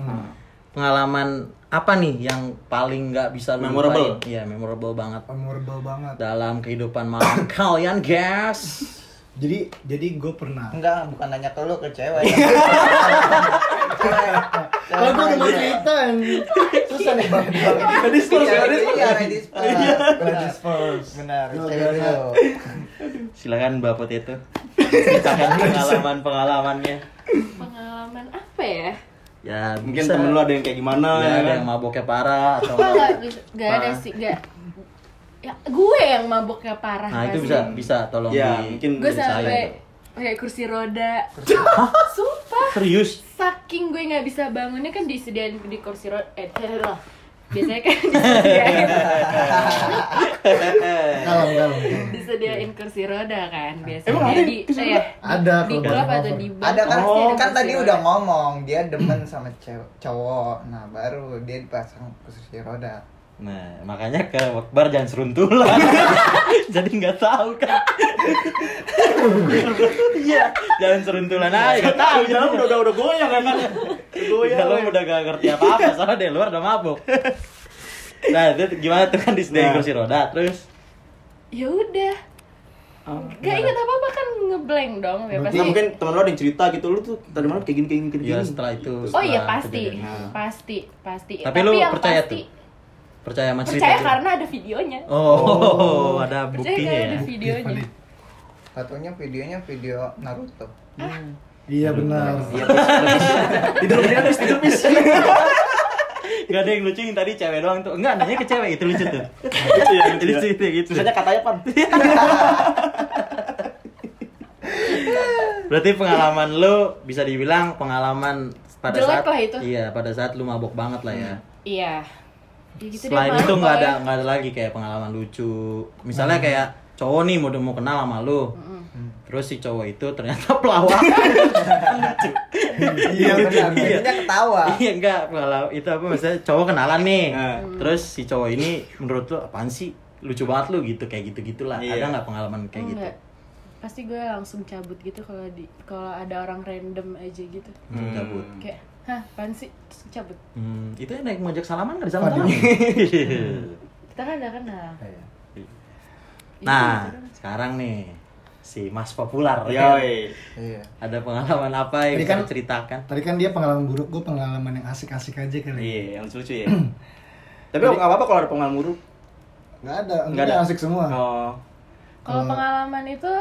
Speaker 1: pengalaman apa nih yang paling nggak bisa lu
Speaker 3: Memorable.
Speaker 1: lupain? iya memorable banget
Speaker 4: Memorable banget.
Speaker 1: dalam kehidupan malam kalian guys
Speaker 4: Jadi jadi gue pernah.
Speaker 2: enggak bukan nanya ke lu ke cewek.
Speaker 4: Kalau gue udah mau cerita anjing. Terus aneh banget.
Speaker 2: Ladies first, ladies first. Iya. Iya, ladies first.
Speaker 4: Ladies first.
Speaker 2: Benar,
Speaker 4: Oke,
Speaker 2: cewek
Speaker 4: oke.
Speaker 2: lu.
Speaker 1: silakan bapak itu ceritakan pengalaman pengalamannya
Speaker 5: Pengalaman apa ya?
Speaker 1: ya
Speaker 3: Mungkin
Speaker 1: bisa.
Speaker 3: temen lu ada yang kayak gimana
Speaker 1: Ya,
Speaker 3: ya
Speaker 1: ada
Speaker 3: kan?
Speaker 1: yang maboknya parah atau
Speaker 5: Gue gak, bisa- gak ada
Speaker 1: Parah.
Speaker 5: sih, gak ya, gue yang maboknya parah
Speaker 1: Nah, itu
Speaker 5: pasti.
Speaker 1: bisa bisa tolong
Speaker 3: Ya,
Speaker 1: di
Speaker 3: mungkin
Speaker 5: Gue
Speaker 1: saya
Speaker 5: sampai
Speaker 1: itu.
Speaker 5: kayak kursi roda Sumpah
Speaker 1: serius.
Speaker 5: saking gue nggak bisa bangunnya kan disediain di kursi roda eh lah biasanya kan disediain
Speaker 4: Kalem kalem.
Speaker 5: disediain kursi roda kan biasanya
Speaker 3: Emang ada
Speaker 5: di
Speaker 3: kursi
Speaker 5: eh,
Speaker 4: Ada
Speaker 5: di
Speaker 4: kalau
Speaker 5: klub
Speaker 4: buat
Speaker 5: atau
Speaker 4: cover.
Speaker 5: di bar
Speaker 2: Ada kan,
Speaker 5: pasti
Speaker 2: kan
Speaker 5: kursi
Speaker 2: tadi
Speaker 5: roda.
Speaker 2: udah ngomong dia demen sama cewek cowok. Nah, baru dia dipasang kursi roda.
Speaker 1: Nah, makanya ke Wakbar jangan seruntulan. Jadi nggak tahu kan. Iya, jangan seruntulan aja nggak tahu.
Speaker 6: Di dalam
Speaker 1: jadinya.
Speaker 6: udah udah udah
Speaker 5: ya,
Speaker 6: goyang kan?
Speaker 1: Di dalam udah gak ngerti apa-apa, soalnya dari luar udah mabuk. Nah, itu gimana tuh kan di
Speaker 3: Nah.
Speaker 1: kursi roda terus
Speaker 5: ya udah
Speaker 1: Oh,
Speaker 5: gak ingat apa apa kan ngeblank dong ya
Speaker 3: Nah,
Speaker 5: pasti
Speaker 3: mungkin temen lu ada yang cerita gitu lu tuh tadi malam kayak gini kayak gini kayak gini.
Speaker 1: ya setelah itu.
Speaker 5: oh iya
Speaker 1: setelah
Speaker 5: pasti
Speaker 1: kejadian. Nah.
Speaker 5: pasti pasti
Speaker 1: Tapi lu
Speaker 5: yang
Speaker 1: percaya
Speaker 5: pasti,
Speaker 1: tuh? Percaya sama cerita.
Speaker 5: percaya
Speaker 1: tuh?
Speaker 5: karena ada videonya
Speaker 1: Oh, ada
Speaker 5: percaya
Speaker 1: buktinya
Speaker 5: karena
Speaker 1: ya.
Speaker 5: ada videonya
Speaker 4: valid.
Speaker 2: Satunya videonya video Naruto.
Speaker 4: Iya benar.
Speaker 3: Tidur mendingan habis tidur bis.
Speaker 1: Gak ada yang lucu yang tadi cewek doang tuh. Enggak, nanya ke cewek itu lucu tuh.
Speaker 5: Iya,
Speaker 1: itu lucu
Speaker 5: ya.
Speaker 1: itu gitu.
Speaker 3: Sisanya katanya pan.
Speaker 1: Berarti pengalaman lu bisa dibilang pengalaman pada
Speaker 5: Jelek
Speaker 1: saat
Speaker 5: lah itu.
Speaker 1: Iya, pada saat lu mabok banget lah ya.
Speaker 5: iya ya gitu deh,
Speaker 1: Selain
Speaker 5: malu
Speaker 1: itu nggak ada
Speaker 5: pokoknya.
Speaker 1: nggak ada lagi kayak pengalaman lucu. Misalnya kayak cowok nih mau mau kenal sama lu.
Speaker 5: Hmm.
Speaker 1: Terus si cowok itu ternyata pelawak. lucu.
Speaker 2: Iya, benar. Jadinya ketawa.
Speaker 1: Iya enggak, kalau itu apa maksudnya cowok kenalan nih.
Speaker 3: Nah.
Speaker 1: Terus si cowok ini menurut lu apaan sih? Lucu banget lu gitu kayak gitu-gitulah.
Speaker 3: Iya.
Speaker 1: Ada nggak pengalaman kayak gitu?
Speaker 5: Enggak. Pasti gue langsung cabut gitu kalau di kalau ada orang random aja gitu.
Speaker 1: Untuk cabut.
Speaker 5: Kayak, hah, apaan sih? Terus cabut.
Speaker 1: Hmm, itu yang naik mojek salaman nggak disalaman
Speaker 4: Waduh.
Speaker 5: Kita kan udah kenal.
Speaker 1: Nah, sekarang nih si Mas Popular.
Speaker 3: Yoi.
Speaker 2: Iya.
Speaker 1: Ada pengalaman apa yang
Speaker 4: Tadi
Speaker 1: bisa
Speaker 4: kan-
Speaker 1: diceritakan?
Speaker 4: Tadi kan dia pengalaman buruk, gue pengalaman yang asik-asik aja kali.
Speaker 3: Iya, yang lucu ya. Tapi nggak apa-apa kalau ada pengalaman buruk.
Speaker 4: Nggak ada,
Speaker 3: Nggak
Speaker 4: nggak
Speaker 3: ada.
Speaker 4: ada asik semua.
Speaker 3: Oh.
Speaker 5: Kalau
Speaker 4: Kalau-
Speaker 5: pengalaman itu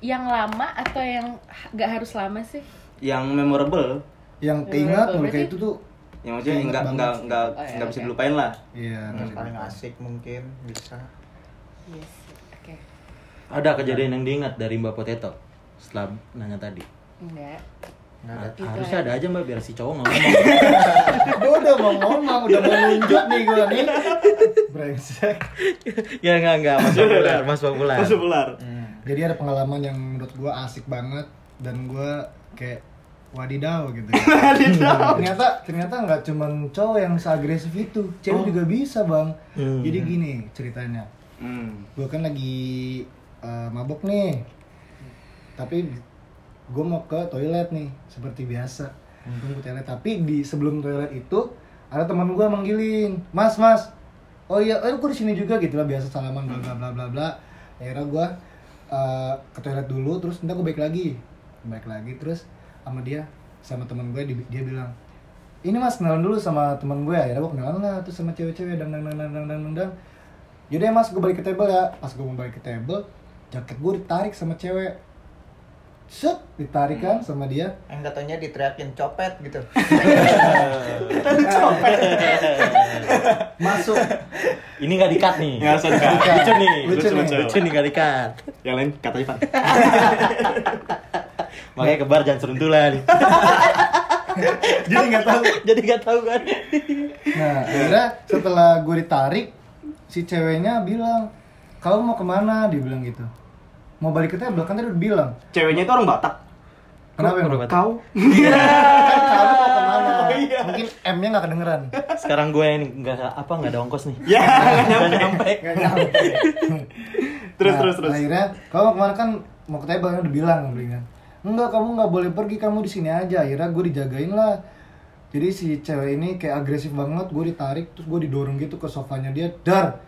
Speaker 5: yang lama atau yang ha- nggak harus lama sih?
Speaker 3: Yang memorable
Speaker 4: Yang keingat
Speaker 5: Berarti-
Speaker 4: mereka itu tuh,
Speaker 3: yang maksudnya
Speaker 4: Ingat
Speaker 3: nggak
Speaker 4: banget.
Speaker 3: nggak nggak
Speaker 5: Oh, iya,
Speaker 3: nggak bisa
Speaker 5: oke.
Speaker 3: dilupain lah
Speaker 4: iya.
Speaker 2: Yang
Speaker 4: nggak
Speaker 2: paling
Speaker 4: ada.
Speaker 2: asik mungkin bisa.
Speaker 5: Yes. Oke.
Speaker 1: Ada kejadian yang diingat dari Mbak Potato setelah nanya tadi.
Speaker 5: Enggak.
Speaker 2: Enggak ada.
Speaker 1: Ha-
Speaker 5: Itu
Speaker 1: Harusnya
Speaker 5: aja.
Speaker 1: ada aja Mbak biar si cowok ngomong.
Speaker 4: Gue udah mau ngomong, udah mau nunjuk nih gue nih. Brengsek.
Speaker 1: ya enggak enggak Mas Popular, Mas Popular.
Speaker 3: sebelar
Speaker 2: Hmm.
Speaker 4: Jadi ada pengalaman yang menurut gue asik banget dan gue kayak wadidaw gitu. ternyata ternyata nggak cuman cowok yang seagresif itu, cewek juga bisa bang.
Speaker 1: Hmm.
Speaker 4: Jadi gini ceritanya,
Speaker 3: hmm.
Speaker 4: gue kan lagi eh, mabok nih, tapi gue mau ke toilet nih seperti biasa. Untung ke toilet, tapi di sebelum toilet itu ada teman gue manggilin, mas mas, oh iya, eh gue di sini juga gitu lah biasa salaman bla bla bla bla bla. Akhirnya gue ke toilet dulu, terus nanti gue balik lagi, balik lagi, terus sama dia, sama teman gue di- dia bilang, ini mas kenalan dulu sama teman gue akhirnya gue kenalan lah terus sama cewek-cewek dang dang dang dang dang dang dang yaudah ya mas gue balik ke table ya pas gue mau balik ke table jaket gue ditarik sama cewek set ditarik kan sama dia
Speaker 2: Yang katanya diteriakin copet gitu.
Speaker 4: masuk
Speaker 1: Ini enggak dikat nih.
Speaker 3: nggak usah Kak.
Speaker 4: Bukan.
Speaker 3: lucu nih
Speaker 4: Lucu
Speaker 3: lucu
Speaker 4: nih.
Speaker 3: lucu
Speaker 1: Lucu nih enggak dikat.
Speaker 3: yang lain katanya pan
Speaker 7: Makanya ke bar jangan seruntulan.
Speaker 4: jadi nggak tahu
Speaker 7: Jadi nggak tahu kan.
Speaker 4: nah akhirnya setelah gue ditarik si ceweknya bilang kamu mau kemana dibilang gitu mau balik ke table kan tadi udah bilang
Speaker 3: Ceweknya itu orang Batak.
Speaker 4: kenapa emang
Speaker 3: Kau?
Speaker 4: kan kamu mau kemana mungkin M nya nggak kedengeran
Speaker 7: Sekarang gue ini nggak apa nggak ada ongkos nih.
Speaker 3: Ya, nggak nyampe.
Speaker 4: Nggak nyampe.
Speaker 3: Terus,
Speaker 4: Nah,
Speaker 3: terus, terus.
Speaker 4: akhirnya kamu mau kemana kan mau ke table kan udah bilang gue bilang enggak kamu nggak boleh pergi kamu di sini aja akhirnya gue dijagain lah jadi si cewek ini kayak agresif banget gue ditarik terus gue didorong gitu ke sofanya dia dar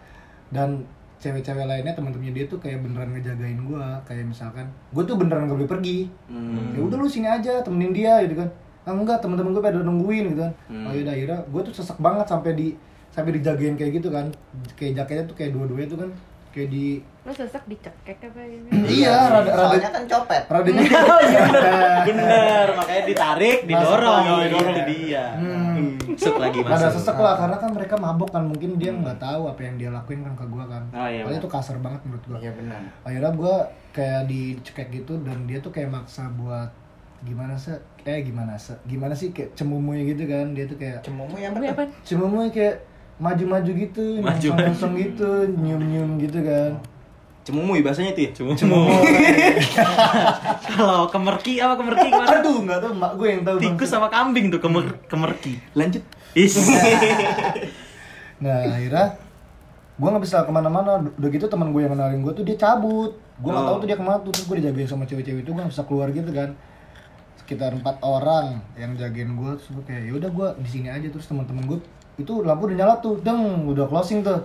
Speaker 4: dan cewek-cewek lainnya teman-temannya dia tuh kayak beneran ngejagain gue kayak misalkan gue tuh beneran gak boleh pergi
Speaker 3: Hmm.
Speaker 4: ya udah lu sini aja temenin dia gitu kan ah, enggak teman-teman gue pada nungguin gitu kan
Speaker 3: Hmm.
Speaker 4: oh yaudah akhirnya gue tuh sesek banget sampai di sampai dijagain kayak gitu kan kayak jaketnya tuh kayak dua-duanya tuh kan kayak di
Speaker 5: Lu sesek dicekek apa ini?
Speaker 4: iya rada gitu. rada
Speaker 2: Soalnya kan copet.
Speaker 4: rada
Speaker 7: Bener, makanya ditarik, didorong, didorong ke dia. Hmm. Masuk lagi
Speaker 4: rada
Speaker 7: masuk.
Speaker 4: sesek lah karena kan mereka mabok kan mungkin dia nggak tahu apa yang dia lakuin kan ke gua kan
Speaker 3: Oh, iya,
Speaker 4: Soalnya
Speaker 3: benar.
Speaker 4: itu kasar banget menurut
Speaker 3: Iya,
Speaker 4: gua
Speaker 2: benar.
Speaker 4: akhirnya gua kayak dicekek gitu dan dia tuh kayak maksa buat gimana sih eh gimana sih gimana sih kayak cemumuy gitu kan dia tuh kayak
Speaker 2: Cemumu yang
Speaker 5: Gue apa?
Speaker 2: betul.
Speaker 4: cemumuy kayak maju-maju gitu nyongsong-nyongsong gitu nyium-nyium gitu kan
Speaker 3: Cemumuy bahasanya itu ya? Cemumuy.
Speaker 7: Kalau kemerki apa kemerki kemarin?
Speaker 4: aduh nggak tahu mak gue yang tahu Bang.
Speaker 7: Tikus sama kambing tuh kemer kemerki.
Speaker 3: Lanjut.
Speaker 7: Is.
Speaker 4: Nah akhirnya gue nggak bisa kemana-mana udah gitu teman gue yang kenalin gue tuh dia cabut gue nggak tahu tuh dia kemana tuh terus gue dijagain sama cewek-cewek itu gue nggak bisa keluar gitu kan sekitar empat orang yang jagain gue terus gue kayak yaudah gue di sini aja terus teman-teman gue itu lampu udah nyala tuh deng udah closing tuh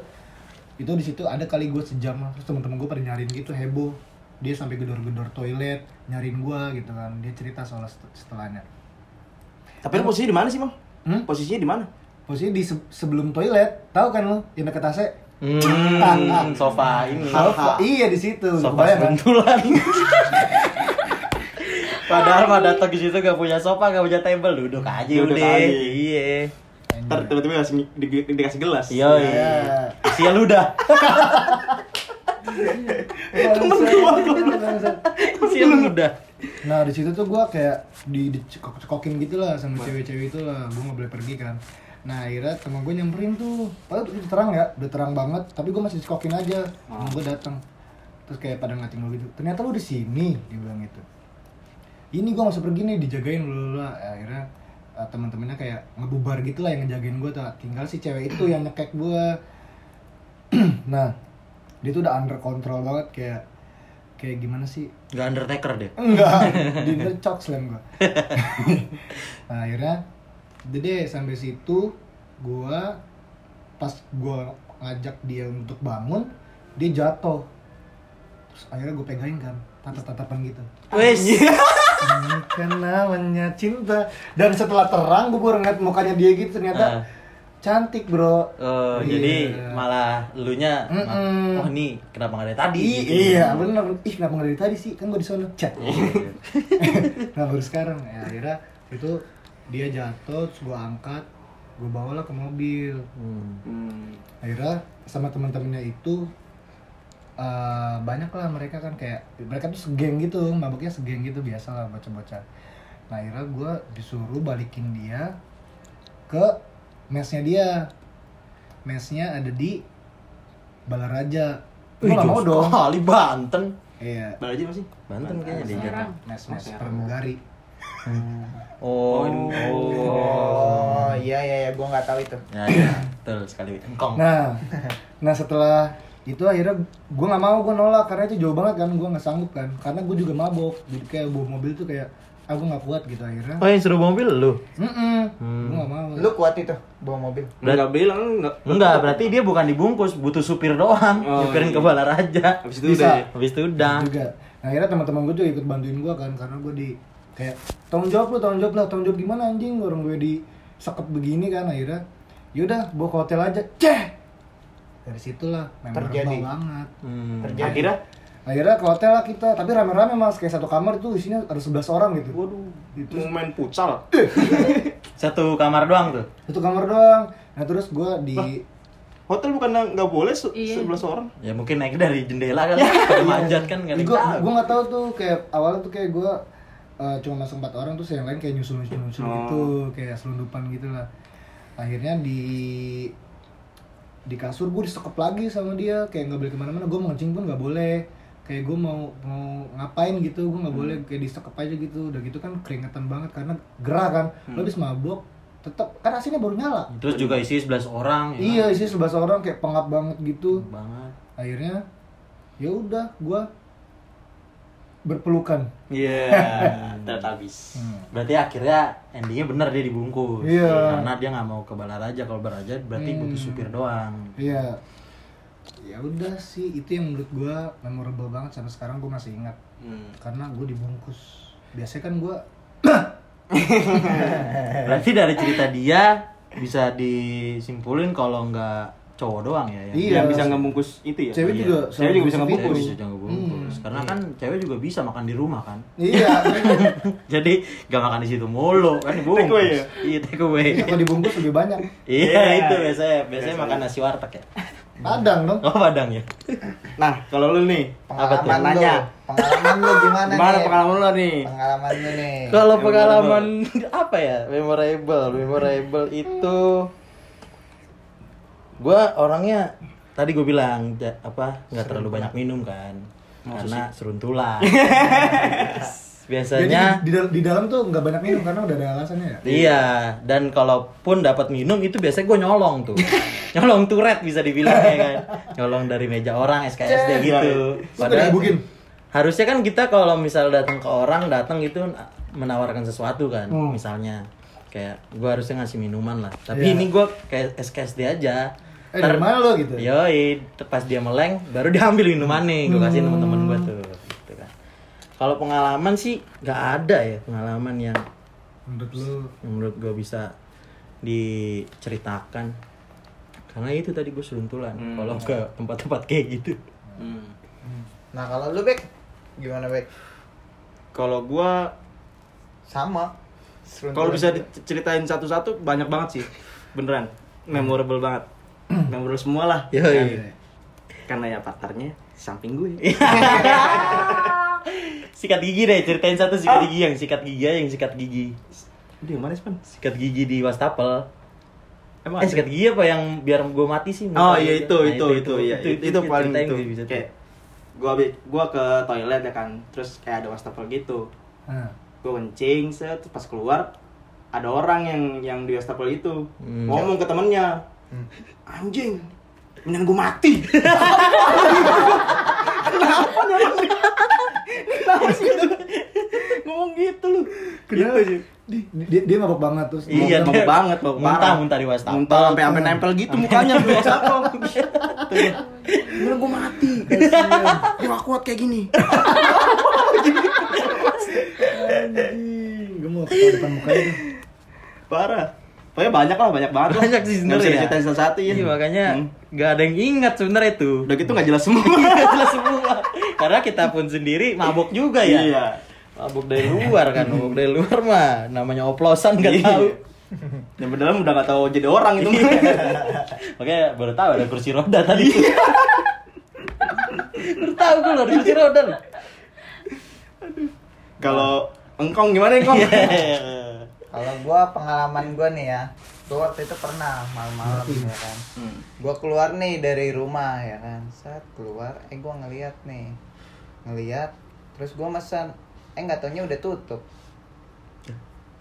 Speaker 4: itu di situ ada kali gue sejam lah. terus teman-teman gue pada nyariin gitu heboh dia sampai gedor-gedor toilet nyariin gue gitu kan dia cerita soal set- setelahnya
Speaker 3: Tapi lu posisinya di mana sih, Bang?
Speaker 4: Hmm?
Speaker 3: Posisinya di mana?
Speaker 4: posisinya di se- sebelum toilet tahu kan lo yang deket AC
Speaker 7: Hmm, sofa ini.
Speaker 4: Alfa. Iya di situ.
Speaker 7: Sofa
Speaker 4: Kebayang kan?
Speaker 7: seruntulan. Padahal pada datang ke situ gak punya sofa, gak punya table, duduk aja
Speaker 3: Duduk
Speaker 7: udah.
Speaker 3: aja.
Speaker 7: Iya.
Speaker 3: Ntar tiba-tiba dikasih, di- di- dikasih gelas.
Speaker 7: Iya.
Speaker 4: Ya.
Speaker 7: Sia lu dah.
Speaker 4: Temen gua.
Speaker 7: Sia lu dah.
Speaker 4: Nah di situ tuh gua kayak di dicekok-cekokin gitu lah sama cewek-cewek itu lah. Gua nggak boleh pergi kan. Nah akhirnya temen gue nyamperin tuh. Padahal udah terang ya, udah terang banget. Tapi gua masih dicekokin aja. Temen gue datang. Terus kayak pada ngating lu gitu. Ternyata lu di sini, dia bilang gitu. Ini gua masih pergi nih dijagain lu lah. Akhirnya eh, teman-temannya kayak ngebubar gitu lah yang ngejagain gue tuh tinggal si cewek itu yang nyekek gua nah dia tuh udah under control banget kayak kayak gimana sih
Speaker 1: Gak Undertaker deh.
Speaker 4: enggak dicok slam gua nah akhirnya udah deh sampai situ gua pas gua ngajak dia untuk bangun dia jatuh terus akhirnya gue pegangin kan tatap-tatapan gitu
Speaker 7: Wes.
Speaker 4: ini kan namanya cinta dan setelah terang gue baru ngeliat mukanya dia gitu ternyata
Speaker 7: Ah.
Speaker 4: cantik bro
Speaker 7: Oh,
Speaker 4: Iya.
Speaker 7: jadi malah elunya ma-
Speaker 4: Mm-mm.
Speaker 7: oh nih kenapa gak dari tadi?
Speaker 4: I- iya bener ih kenapa nggak dari tadi sih kan gue di sono chat nah baru sekarang ya akhirnya itu dia jatuh terus gue angkat gue bawalah ke mobil
Speaker 3: Hmm.
Speaker 4: akhirnya sama teman-temannya itu eh, banyak lah mereka kan kayak mereka tuh segeng gitu mabuknya segeng gitu biasa lah bocah-bocah nah akhirnya gue disuruh balikin dia ke mesnya dia mesnya ada di Balaraja Gue nggak mau dong
Speaker 7: Gitu. Kali Banten.
Speaker 4: Iya,
Speaker 3: Balik aja masih?
Speaker 7: Banten kayaknya deh.
Speaker 5: Serang.
Speaker 4: mes mes pramugari.
Speaker 7: Oh. Oh.
Speaker 2: Oh, iya iya iya, gua nggak tahu itu.
Speaker 7: Ya, ya. Betul sekali. Engkong.
Speaker 4: Nah, nah setelah itu akhirnya gue nggak mau gue nolak karena itu jauh banget kan gue nggak sanggup kan karena gue juga mabok jadi kayak bawa mobil tuh kayak aku nggak kuat gitu akhirnya
Speaker 7: Oh, yang suruh mobil lu.
Speaker 4: mm gue nggak mau
Speaker 2: Hmm. Lu kuat itu bawa mobil.
Speaker 3: Enggak bilang, enggak.
Speaker 1: Hmm.
Speaker 7: Enggak, berarti dia bukan dibungkus, butuh supir doang.
Speaker 3: Oh,
Speaker 7: Nyupirin
Speaker 3: iya.
Speaker 7: ke Balaraja.
Speaker 3: Habis itu
Speaker 4: Bisa.
Speaker 3: udah.
Speaker 7: Habis itu udah.
Speaker 4: juga nah, akhirnya teman-teman gue juga ikut bantuin gue kan karena gue di kayak tanggung jawab lu tanggung jawab lah tanggung jawab gimana anjing orang gue di sekep begini kan akhirnya yaudah bawa ke hotel aja ceh dari situlah memorable
Speaker 2: Terjadi.
Speaker 4: banget
Speaker 7: Hmm.
Speaker 2: Terjadi.
Speaker 3: Akhirnya,
Speaker 4: akhirnya ke hotel lah kita tapi rame-rame mas kayak satu kamar tuh isinya ada 11 orang gitu
Speaker 3: waduh, mau main futsal.
Speaker 7: Satu kamar doang tuh.
Speaker 4: satu kamar doang nah terus gue di
Speaker 3: Hotel bukan nggak boleh se-
Speaker 5: Iya.
Speaker 3: 11 orang.
Speaker 7: Ya mungkin naik dari jendela kali. Pada manjat kan
Speaker 4: gue
Speaker 7: kali.
Speaker 4: gue nggak tahu tuh kayak awalnya tuh kayak gue eh, cuma masuk empat orang terus yang lain kayak nyusul nyusul nyusul
Speaker 3: Oh.
Speaker 4: gitu kayak selundupan gitu lah akhirnya di di kasur gue disekep lagi sama dia kayak nggak boleh kemana-mana gue mau kencing pun nggak boleh kayak gue mau mau ngapain gitu gue nggak boleh kayak disekep aja gitu udah gitu kan keringetan banget karena gerah kan lo habis mabuk tetap kan asinnya baru nyala
Speaker 1: Terus juga isi 11 orang ya.
Speaker 4: iya isi sebelas orang kayak pengap banget gitu
Speaker 1: kan? Banget.
Speaker 4: akhirnya ya udah gue berpelukan
Speaker 7: Iya, ternyata habis.
Speaker 1: Berarti akhirnya endingnya bener dia dibungkus.
Speaker 4: Hmm. Iya.
Speaker 1: Karena dia nggak mau ke Balaraja. Kalau Balaraja berarti
Speaker 4: Hmm.
Speaker 1: butuh supir doang.
Speaker 4: Iya. Ya udah sih, itu yang menurut gua memorable banget sampai sekarang gua masih ingat.
Speaker 3: Hmm.
Speaker 4: Karena gua dibungkus. Biasanya kan gua
Speaker 1: Berarti dari cerita dia bisa disimpulin kalau nggak cowok doang ya. Yang
Speaker 4: Iya.
Speaker 3: Yang bisa ngebungkus itu ya.
Speaker 4: cewek
Speaker 1: Iya.
Speaker 4: juga
Speaker 3: Cewek
Speaker 4: selalu
Speaker 3: juga bisa
Speaker 1: Cewek
Speaker 4: dibungkus
Speaker 3: ngebungkus.
Speaker 4: itu.
Speaker 1: bisa jangan bungkus.
Speaker 4: Hmm.
Speaker 1: Karena kan cewek juga bisa makan di rumah kan.
Speaker 4: Iya.
Speaker 1: Jadi gak makan di situ mulu kan dibungkus.
Speaker 3: Take away ya?
Speaker 1: Iya take away.
Speaker 4: Iya, Kalau dibungkus lebih banyak.
Speaker 1: Iya
Speaker 7: Iya.
Speaker 1: itu biasanya biasanya makan nasi warteg ya.
Speaker 4: Padang dong.
Speaker 1: Oh Padang ya.
Speaker 3: Nah, kalau lu nih,
Speaker 2: Pengalaman
Speaker 3: Apa tuh?
Speaker 2: lu,
Speaker 3: Nanya.
Speaker 2: pengalaman lu gimana
Speaker 3: gimana
Speaker 2: nih?
Speaker 3: pengalaman lu nih?
Speaker 2: Pengalaman lu nih.
Speaker 7: Kalau
Speaker 3: Memorable.
Speaker 7: pengalaman apa ya memorable, memorable itu
Speaker 1: Gua orangnya tadi gue bilang ja- apa nggak terlalu banyak minum kan karena seruntulan.
Speaker 4: Jadi
Speaker 1: biasanya
Speaker 4: di, di dalam tuh nggak banyak minum karena udah ada alasannya ya.
Speaker 1: Iya, dan kalaupun dapat minum itu biasanya gue nyolong tuh. nyolong turet bisa dibilang ya kan. Nyolong dari meja orang SKSD gitu.
Speaker 4: Padahal Iya, dibukin.
Speaker 1: harusnya kan kita kalau misal datang ke orang datang itu menawarkan sesuatu kan.
Speaker 4: Hmm.
Speaker 1: Misalnya kayak gue harusnya ngasih minuman lah. Tapi
Speaker 4: Iya.
Speaker 1: ini gue kayak SKSD aja.
Speaker 4: Eh, dari mana lo gitu?
Speaker 1: Iya. Yoi, te- pas dia meleng baru diambil minumannya, gue kasih teman-teman gue tuh. Gitu kan. Kalau pengalaman sih nggak ada ya pengalaman yang
Speaker 4: Menurut lu
Speaker 1: yang menurut gue bisa diceritakan karena itu tadi gue seruntulan kalau ke tempat-tempat kayak gitu
Speaker 3: Hmm.
Speaker 2: Nah, kalau lu Bek gimana Bek?
Speaker 3: Kalau gua
Speaker 2: Sama. Seruntulan
Speaker 3: Kalau bisa
Speaker 2: juga.
Speaker 3: diceritain satu-satu banyak banget sih. Beneran. Memorable banget. Memorable semua lah.
Speaker 1: Yoi.
Speaker 4: Iya.
Speaker 3: Karena ya partnernya samping gue.
Speaker 1: sikat gigi deh ceritain satu sikat gigi yang sikat gigi aja, yang sikat gigi
Speaker 3: Dia mana sih, Pan?
Speaker 1: sikat gigi di wastafel
Speaker 3: Emang
Speaker 1: eh
Speaker 3: ada?
Speaker 1: sikat gigi apa yang biar gue mati sih Nah,
Speaker 3: Oh iya itu itu itu itu iya, itu, itu
Speaker 1: ceritain
Speaker 3: paling itu.
Speaker 1: gue bisa tuh.
Speaker 3: Kayak gua abi- gua ke toilet ya kan. Terus kayak ada wastafel gitu.
Speaker 4: Nah,
Speaker 3: Gua kencing set terus pas keluar ada orang yang yang di wastafel itu
Speaker 1: Hmm.
Speaker 3: ngomong ke temennya anjing mendingan gue mati kenapa nih orang nih? kenapa sih lu? ngomong gitu lu
Speaker 4: kenapa sih? Iya. Dia, dia mabok banget terus.
Speaker 1: Iya,
Speaker 4: ngomong-
Speaker 3: mabuk
Speaker 1: dia-
Speaker 3: banget, mabuk
Speaker 1: muntah,
Speaker 3: parah.
Speaker 1: muntah di wastafel.
Speaker 3: Muntah sampai sampai nempel gitu mukanya di wastafel. Bener gue mati. Gue gak kuat kayak gini.
Speaker 4: Anjing, gue mau ketawa depan mukanya tuh.
Speaker 3: Parah. Pokoknya banyak lah, banyak banget. lah.
Speaker 1: Banyak sih sebenarnya.
Speaker 3: Nggak bisa diceritain satu-satu ya.
Speaker 1: Iya, makanya
Speaker 3: Hmm.
Speaker 1: nggak ada yang ingat sebenarnya itu Iya,
Speaker 3: udah gitu gak jelas semua.
Speaker 1: Nggak jelas semua karena kita pun sendiri mabok juga ya
Speaker 3: Iya.
Speaker 1: mabuk dari luar kan mabuk dari luar mah namanya oplosan nggak
Speaker 3: Iya.
Speaker 1: tahu
Speaker 3: Yang dalam udah gak tahu jadi orang itu.
Speaker 1: makanya baru tahu ada kursi roda tadi
Speaker 3: Iya.
Speaker 1: baru tahu gue loh ada kursi roda loh.
Speaker 3: Kalau engkong gimana engkong?
Speaker 2: Kalau gua pengalaman gua nih ya, gua waktu itu pernah malam-malam ya kan.
Speaker 3: Hmm.
Speaker 2: Gua keluar nih dari rumah ya kan. Saat keluar, eh gua ngeliat nih, ngeliat, terus gua pesan, eh nggak taunya udah tutup.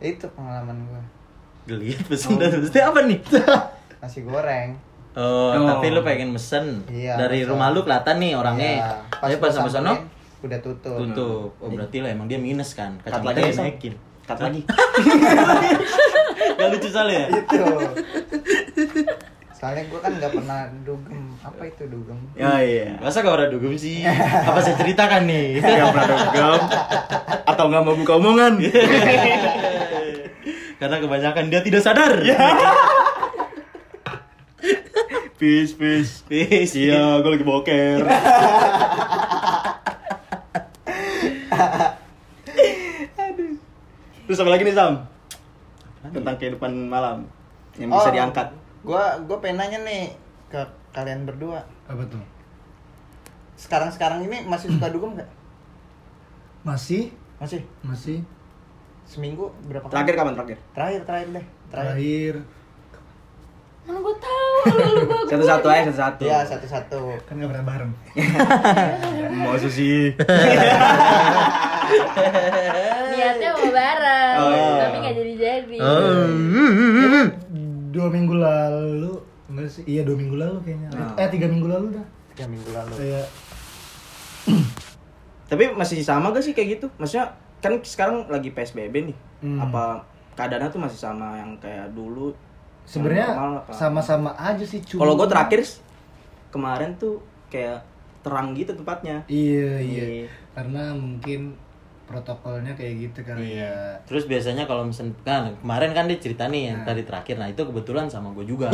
Speaker 2: Itu pengalaman gua.
Speaker 1: Lihat pesen dan pesen apa nih?
Speaker 2: Nasi goreng.
Speaker 1: Oh,
Speaker 3: Oh.
Speaker 1: tapi lu pengen mesen
Speaker 2: Iya,
Speaker 1: dari
Speaker 2: mesen.
Speaker 1: rumah lu kelihatan nih orangnya.
Speaker 2: Iya,
Speaker 1: Tapi pas
Speaker 2: gua
Speaker 1: sama sono
Speaker 2: samperin, udah tutup.
Speaker 1: tutup. Oh, berarti lah emang dia minus kan.
Speaker 3: Cut
Speaker 1: Kacamata
Speaker 3: lagi
Speaker 1: dia
Speaker 3: Sam.
Speaker 1: naikin.
Speaker 3: Cut lagi.
Speaker 1: Gak lucu soalnya ya?
Speaker 2: Itu. Gitu. Soalnya gua kan nggak pernah dugem. Apa itu dugem?
Speaker 1: Ya iya. Masa gak pernah dugem sih? Apa saya ceritakan nih?
Speaker 3: Gak pernah dogem. Atau gak mau buka omongan.
Speaker 1: Karena kebanyakan dia tidak sadar.
Speaker 3: Ya. Peace, peace.
Speaker 1: Peace.
Speaker 3: Iya, gue lagi boker. Terus apa lagi nih Sam? Tentang kehidupan malam yang bisa
Speaker 2: Oh,
Speaker 3: diangkat.
Speaker 2: Gua gua pengen nanya nih ke kalian berdua.
Speaker 4: Apa tuh?
Speaker 2: Sekarang-sekarang ini masih suka dugem nggak?
Speaker 4: Masih
Speaker 2: Masih.
Speaker 4: masih
Speaker 2: seminggu berapa
Speaker 3: Terakhir
Speaker 2: kali?
Speaker 3: kapan terakhir?
Speaker 2: Terakhir terakhir deh. Terakhir.
Speaker 4: terakhir
Speaker 5: Mana gue tahu lu lu gue
Speaker 3: Satu-satu aja, satu-satu.
Speaker 2: Iya satu-satu.
Speaker 4: kan nggak pernah bareng
Speaker 3: Maksud sih.
Speaker 5: niatnya mau bareng
Speaker 3: Oh.
Speaker 5: tapi nggak jadi jadi
Speaker 1: Hmm.
Speaker 4: dua minggu lalu enggak sih iya dua minggu lalu kayaknya
Speaker 3: Nah.
Speaker 4: eh tiga minggu lalu dah
Speaker 2: Tiga minggu lalu.
Speaker 4: kayak
Speaker 3: Tapi masih sama gak sih kayak gitu? Maksudnya kan sekarang lagi PSBB nih.
Speaker 4: Hmm.
Speaker 3: Apa keadaannya tuh masih sama yang kayak dulu? yang
Speaker 4: sebenarnya
Speaker 3: normal apa?
Speaker 4: sama-sama aja sih cuma
Speaker 3: Kalau gue terakhir kemarin tuh kayak terang gitu tempatnya.
Speaker 4: iya iya
Speaker 3: Iya.
Speaker 4: karena mungkin protokolnya kayak gitu kali ya
Speaker 1: Terus biasanya kalau misalnya kan, kemarin kan dia cerita nih yang tadi terakhir, nah itu kebetulan sama gue juga.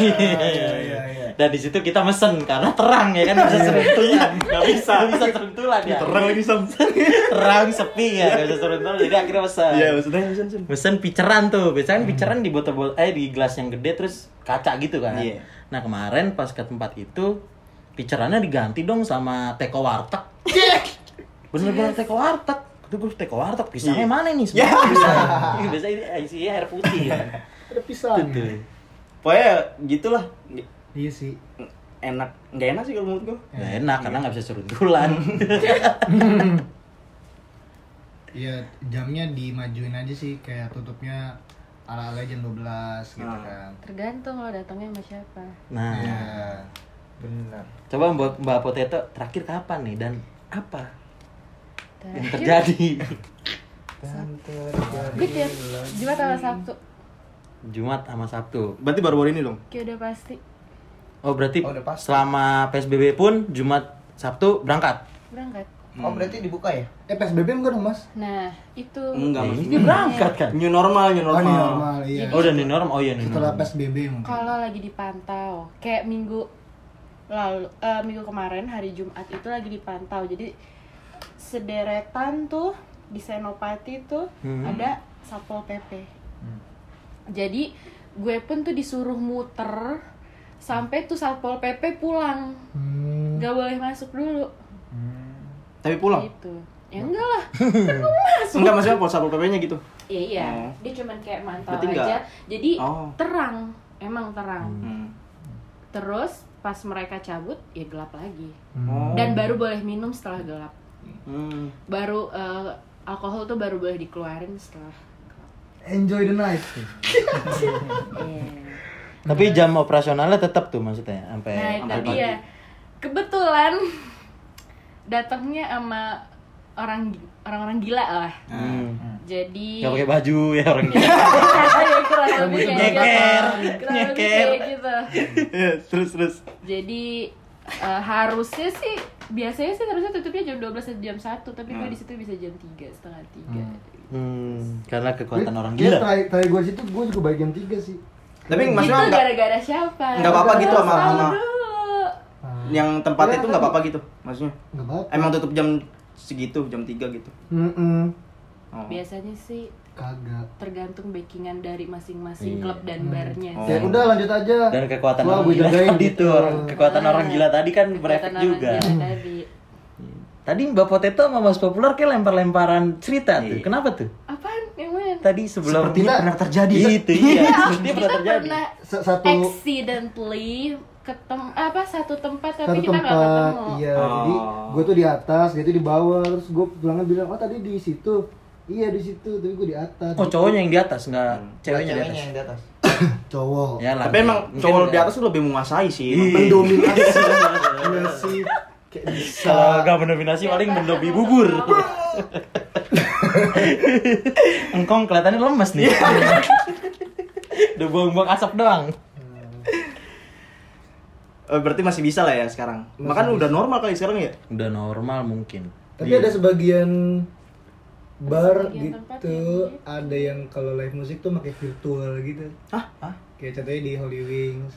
Speaker 1: Iya, Dan di situ kita mesen karena terang ya kan bisa seruntulan, nggak bisa bisa seruntulan
Speaker 3: Iya.
Speaker 1: ya. Terang lagi terang sepi ya nggak bisa seruntulan, jadi akhirnya mesen.
Speaker 3: Iya, maksudnya maksudnya, maksudnya.
Speaker 1: Mesen piceran tuh, biasanya kan piceran di botol botol eh di gelas yang gede terus kaca gitu kan.
Speaker 3: Iya.
Speaker 1: Nah kemarin pas ke tempat itu picerannya diganti dong sama teko warteg. Bener-bener teko warteg. Itu gue teko warteg pisangnya mana nih?
Speaker 3: Iya.
Speaker 1: Semua pisang. Iya, biasanya ini isinya air putih. Ya.
Speaker 4: ada pisang
Speaker 3: Pokoknya gitulah
Speaker 4: iya sih
Speaker 3: enak nggak enak sih kalau menurut gue
Speaker 1: Nggak enak karena nggak bisa seruntulan.
Speaker 4: Iya jamnya dimajuin aja sih kayak tutupnya ala ala jam 12 gitu
Speaker 1: Ah.
Speaker 4: kan.
Speaker 5: tergantung lo datangnya sama siapa
Speaker 1: nah,
Speaker 4: Iya.
Speaker 2: Benar.
Speaker 1: coba buat Mbak Potato terakhir kapan nih dan apa yang
Speaker 5: Terakhir,
Speaker 1: terjadi?
Speaker 2: Dan terjadi.
Speaker 5: gue tiap ya. Jumat sama Sabtu
Speaker 1: Jumat sama Sabtu.
Speaker 3: berarti baru-baru ini dong
Speaker 5: kayak udah pasti
Speaker 1: Oh berarti
Speaker 2: Oh, udah pasti.
Speaker 1: selama PSBB pun Jumat Sabtu berangkat.
Speaker 5: berangkat
Speaker 2: Oh berarti dibuka ya?
Speaker 4: Eh PSBB enggak dong mas?
Speaker 5: nah itu
Speaker 1: Eh,
Speaker 3: enggak maksudnya
Speaker 1: ini berangkat kan?
Speaker 3: new normal new
Speaker 4: Oh
Speaker 3: normal,
Speaker 4: ini normal iya.
Speaker 1: Oh udah new norm, oh iya new
Speaker 4: Setelah
Speaker 1: norm.
Speaker 4: PSBB mungkin.
Speaker 5: kalau lagi dipantau kayak minggu lalu eh, minggu kemarin hari Jumat itu lagi dipantau jadi sederetan tuh di Senopati tuh
Speaker 3: Hmm.
Speaker 5: ada satpol pp jadi gue pun tuh disuruh muter sampai tuh satpol pp pulang
Speaker 4: Hmm.
Speaker 5: nggak boleh masuk dulu
Speaker 3: tapi pulang
Speaker 5: gitu ya enggak lah
Speaker 3: enggak maksudnya pol satpol pp nya gitu
Speaker 5: Iya iya,
Speaker 3: Oh.
Speaker 5: dia cuman kayak mantau
Speaker 3: Berarti
Speaker 5: aja.
Speaker 3: nggak-
Speaker 5: Jadi
Speaker 3: Oh.
Speaker 5: terang, emang terang.
Speaker 3: hmm.
Speaker 5: Terus pas mereka cabut ya gelap lagi.
Speaker 4: hmm.
Speaker 3: oh.
Speaker 5: Dan baru boleh minum setelah gelap.
Speaker 3: hmm.
Speaker 5: Baru eh, alkohol tuh baru boleh dikeluarin setelah. gelap.
Speaker 4: Enjoy the night.
Speaker 5: Iya.
Speaker 1: Tapi jam operasionalnya tetap tuh maksudnya sampai
Speaker 5: Nah itu
Speaker 1: sampai pagi.
Speaker 5: dia. Kebetulan datangnya sama orang orang-orang gila lah.
Speaker 1: Hmm.
Speaker 5: Jadi
Speaker 1: Gak pakai baju ya orang gitu.
Speaker 5: Ya, kurang lebih kayak gitu.
Speaker 1: Nyeker,
Speaker 5: Kurang lebih
Speaker 1: nyeker.
Speaker 5: kayak gitu.
Speaker 3: terus terus
Speaker 5: Jadi eh, harusnya sih biasanya sih harusnya tutupnya jam 12 atau jam 1 tapi gue di situ bisa jam 3 setengah 3.
Speaker 1: Hmm, karena kekuatan orang
Speaker 4: Iya,
Speaker 1: gila.
Speaker 4: terakhir- terakhir gue situ gue juga bagian tiga sih.
Speaker 3: tapi
Speaker 5: Itu
Speaker 3: maksudnya enggak
Speaker 5: Gitu gara-gara siapa?
Speaker 3: nggak apa-apa gitu
Speaker 5: Harus
Speaker 3: sama-
Speaker 5: tahu
Speaker 3: sama-
Speaker 5: dulu.
Speaker 3: yang tempat itu nggak apa-apa gitu maksudnya
Speaker 4: Enggak Ah, apa-apa.
Speaker 3: emang tutup jam segitu jam 3 gitu
Speaker 4: Mm-mm.
Speaker 3: oh.
Speaker 5: Biasanya sih
Speaker 4: Kagak.
Speaker 5: tergantung backingan dari masing-masing
Speaker 1: Iya.
Speaker 5: klub dan
Speaker 1: Hmm.
Speaker 5: barnya.
Speaker 3: Oh.
Speaker 4: Ya udah lanjut aja.
Speaker 1: Dan kekuatan
Speaker 4: Wah,
Speaker 1: orang
Speaker 4: gue
Speaker 1: gila
Speaker 4: jagain
Speaker 1: tadi
Speaker 4: gitu.
Speaker 1: tuh, orang- kekuatan orang gila tadi kan
Speaker 5: Kekuatan
Speaker 1: berefek
Speaker 5: orang
Speaker 1: juga.
Speaker 5: gila tadi.
Speaker 1: Tadi Mbak Potato sama Mas Populer kayak lempar-lemparan cerita tuh. Kenapa tuh?
Speaker 5: Apaan? Yang mana?
Speaker 1: Tadi sebelum
Speaker 4: Sepertinya pernah terjadi.
Speaker 1: Itu iya, sepertinya
Speaker 5: kita
Speaker 1: pernah terjadi.
Speaker 5: pernah
Speaker 4: Sa- Satu
Speaker 5: accidentally ketem apa satu tempat
Speaker 4: satu
Speaker 5: tapi kita nggak
Speaker 4: tempat.
Speaker 5: ketemu.
Speaker 4: Iya, jadi gue tuh di atas, dia tuh di bawah. Terus gue pulangnya bilang, "Oh, tadi di situ." Iya di situ, tapi gue di atas.
Speaker 1: Oh, cowoknya yang di atas, enggak ceweknya di
Speaker 2: Ceweknya
Speaker 1: atas.
Speaker 2: yang di atas.
Speaker 4: cowok.
Speaker 1: Ya, lah.
Speaker 3: tapi emang
Speaker 1: Mungkin
Speaker 3: cowok di
Speaker 1: ya.
Speaker 3: atas tuh lebih menguasai sih
Speaker 4: mendominasi Iya sih kayak bisa
Speaker 1: Kalau nggak mendominasi paling mendobi bubur. Engkong kelihatannya lemes nih. Udah buang-buang asap doang.
Speaker 3: Eh, berarti masih bisa lah ya sekarang makan udah normal kali sekarang ya
Speaker 1: Udah normal mungkin.
Speaker 4: tapi
Speaker 1: Iya.
Speaker 4: ada sebagian bar
Speaker 5: sebagian tempat
Speaker 4: gitu ada yang kalau live musik tuh pakai virtual gitu
Speaker 3: Hah? Hah?
Speaker 4: kayak contohnya di Holy Wings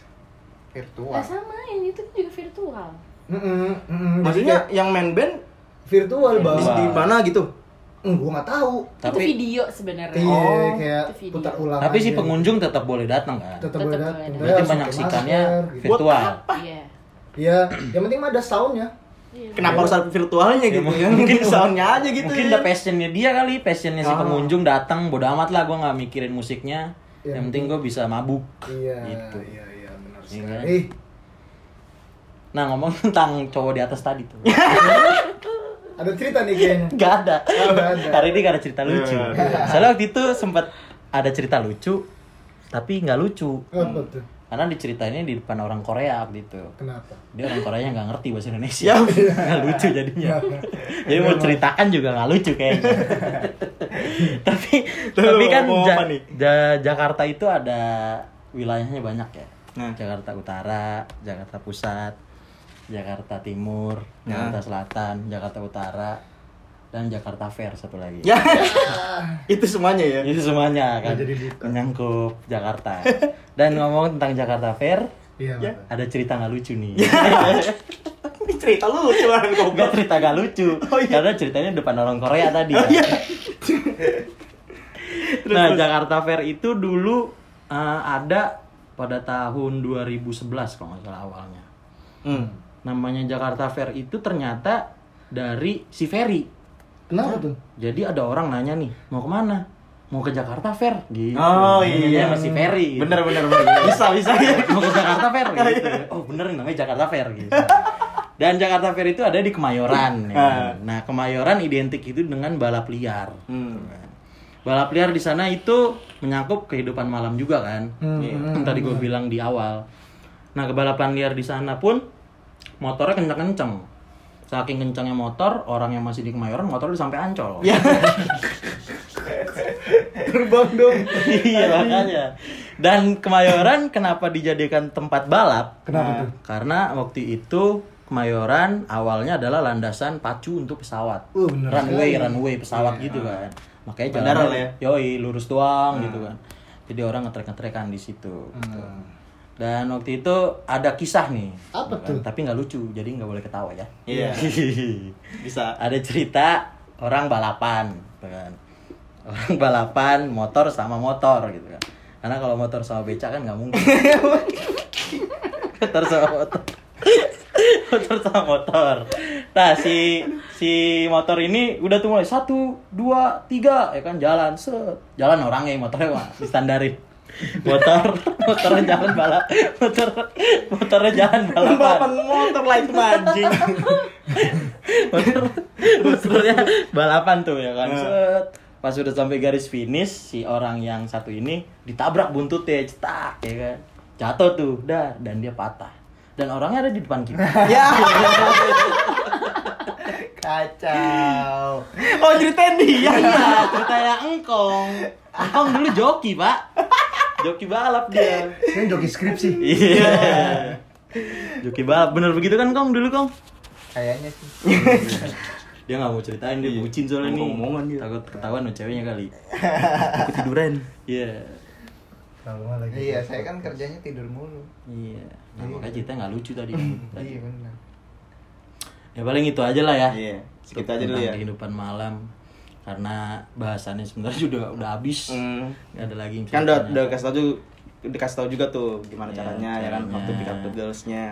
Speaker 2: Virtual.
Speaker 5: Nah, sama yang itu juga virtual.
Speaker 4: Mm-mm, mm-mm.
Speaker 3: maksudnya yang main band
Speaker 4: virtual bang
Speaker 3: di di mana gitu
Speaker 4: mm, gue nggak tahu
Speaker 5: itu
Speaker 1: Tapi
Speaker 5: video sebenarnya.
Speaker 4: iya kayak
Speaker 5: itu video.
Speaker 4: putar ulang
Speaker 1: tapi si
Speaker 4: aja.
Speaker 1: pengunjung tetap boleh datang kan?
Speaker 4: tetap
Speaker 5: Tetap
Speaker 4: boleh
Speaker 5: boleh
Speaker 4: datang
Speaker 5: datang.
Speaker 1: Berarti
Speaker 4: Harus pakai gitu.
Speaker 1: menyaksikannya
Speaker 4: masker, gitu.
Speaker 3: Buat
Speaker 1: virtual.
Speaker 5: Iya.
Speaker 4: Iya, yang penting mah ada soundnya
Speaker 3: Kenapa harus ada virtualnya gitu? mungkin soundnya aja gitu.
Speaker 1: mungkin
Speaker 3: ya.
Speaker 1: udah passionnya dia kali passionnya si
Speaker 4: Ah.
Speaker 1: pengunjung datang bodo amat lah gue nggak mikirin musiknya
Speaker 4: Iya.
Speaker 1: yang penting gue bisa mabuk
Speaker 4: Iya,
Speaker 1: gitu
Speaker 4: iya, iya, benar
Speaker 1: Iya
Speaker 4: sekali.
Speaker 1: kan?
Speaker 4: Ih,
Speaker 1: nah ngomong tentang cowok di atas tadi tuh
Speaker 4: Iya. ada cerita nih kayaknya.
Speaker 1: nggak ada
Speaker 4: Oh, nggak ada. Iya.
Speaker 1: hari ini gak ada cerita lucu soalnya waktu itu sempat ada cerita lucu tapi nggak lucu
Speaker 4: Apa tuh?
Speaker 1: karena diceritainnya di depan orang Korea gitu
Speaker 4: Kenapa?
Speaker 1: dia orang Koreanya nggak ngerti bahasa
Speaker 3: Ya.
Speaker 1: Indonesia nggak lucu jadinya jadi mau ceritakan juga nggak lucu kayaknya tapi tapi kan
Speaker 3: ngomong
Speaker 1: Ja-
Speaker 3: apa nih?
Speaker 1: Ja- Jakarta itu ada wilayahnya banyak ya
Speaker 3: Nah.
Speaker 1: Jakarta Utara Jakarta Pusat Jakarta Timur
Speaker 3: Nah.
Speaker 1: Jakarta Selatan Jakarta Utara dan Jakarta Fair satu lagi
Speaker 3: Ya. Itu semuanya ya.
Speaker 1: itu semuanya kan
Speaker 4: jadi buka.
Speaker 1: menyangkut Jakarta dan ngomong tentang Jakarta Fair
Speaker 4: Iya, apa?
Speaker 1: ada cerita nggak lucu nih
Speaker 3: Ini cerita lu cuman
Speaker 1: Enggak cerita gak lucu
Speaker 3: Oh, iya.
Speaker 1: Karena ceritanya depan orang Korea tadi ya. Nah Jakarta Fair itu dulu eh, ada pada tahun 2011 kalau nggak salah awalnya
Speaker 3: Hmm.
Speaker 1: Namanya Jakarta Fair itu ternyata dari si Ferry
Speaker 4: Kenapa tuh?
Speaker 1: Jadi ada orang nanya nih mau kemana? Mau ke Jakarta Fair gitu
Speaker 3: Oh, iya.
Speaker 1: Nanyanya sama si Ferry gitu.
Speaker 3: Bener bener Iya. bener. Bisa bisa.
Speaker 1: mau ke Jakarta Fair gitu. Oh bener nih, namanya Jakarta Fair gitu. Dan Jakarta Fair itu ada di Kemayoran. ya kan. Nah Kemayoran identik itu dengan balap liar.
Speaker 3: Hmm,
Speaker 1: gitu kan. Balap liar di sana itu menyangkut kehidupan malam juga kan.
Speaker 4: Hmm,
Speaker 1: Yang Tadi gue bilang di awal. Nah kebalapan liar di sana pun motornya kenceng-kenceng. Saking kencengnya motor, orang yang masih di Kemayoran motor udah sampai ancol.
Speaker 4: Ya. Terbang dong.
Speaker 1: iya makanya dan Kemayoran kenapa dijadikan tempat balap
Speaker 4: Kenapa
Speaker 1: Nah, karena waktu itu Kemayoran awalnya adalah landasan pacu untuk pesawat
Speaker 4: Oh, bener
Speaker 1: runway
Speaker 4: sekali.
Speaker 1: runway pesawat gitu kan makanya
Speaker 3: Iya. Bandara
Speaker 1: jalannya
Speaker 3: lah ya. Hmm.
Speaker 1: yoi lurus doang gitu kan jadi orang ngetrek-ngetrekan di situ gitu.
Speaker 3: Hmm.
Speaker 1: dan waktu itu ada kisah nih
Speaker 4: Apa
Speaker 1: gitu kan.
Speaker 4: tuh?
Speaker 1: tapi nggak lucu jadi nggak boleh ketawa ya
Speaker 3: Iya. Bisa.
Speaker 1: ada cerita orang balapan gitu kan orang balapan motor sama motor gitu kan karena kalau motor sama beca kan nggak mungkin motor sama motor motor sama motor nah si si motor ini udah tuh mulai satu dua tiga ya kan jalan set jalan orangnya motornya mah distandarin motor motornya jalan balap motor motornya jalan balapan
Speaker 3: Balapan motor lah itu mah, anjing.
Speaker 1: motor motornya balapan tuh ya kan set pas udah sampai garis finish si orang yang satu ini ditabrak buntutnya cetak ya kan jatuh tuh dah dan dia patah dan orangnya ada di depan kita
Speaker 3: Ya.
Speaker 2: Kacau.
Speaker 3: Oh ceritain dia.
Speaker 1: iya ceritanya engkong engkong dulu joki pak joki balap dia
Speaker 4: Ini joki skripsi.
Speaker 1: iya joki balap bener begitu kan kong dulu kong
Speaker 2: Kayaknya sih.
Speaker 1: dia nggak mau ceritain dia bucin soalnya nih
Speaker 3: Omongan dia.
Speaker 1: takut ketahuan sama ceweknya kali
Speaker 3: Ketiduran.
Speaker 1: iya
Speaker 4: Kalau nggak lagi.
Speaker 2: Iya, saya kan kerjanya tidur mulu.
Speaker 1: Iya, nah, makanya ceritanya nggak lucu tadi. kan. Tadi.
Speaker 2: Iya benar.
Speaker 1: ya paling itu aja lah ya.
Speaker 3: Iya, segitu aja
Speaker 1: Tentang
Speaker 3: dulu ya.
Speaker 1: Kehidupan malam karena bahasannya sebenarnya sudah udah habis.
Speaker 3: Hmm.
Speaker 1: Nggak ada lagi. yang bisa
Speaker 3: Kan udah
Speaker 1: ditanya.
Speaker 3: udah kasih tau juga udah kasih tau juga tuh gimana
Speaker 1: Iya,
Speaker 3: caranya ya kan
Speaker 1: caranya.
Speaker 3: waktu pick up the girls-nya.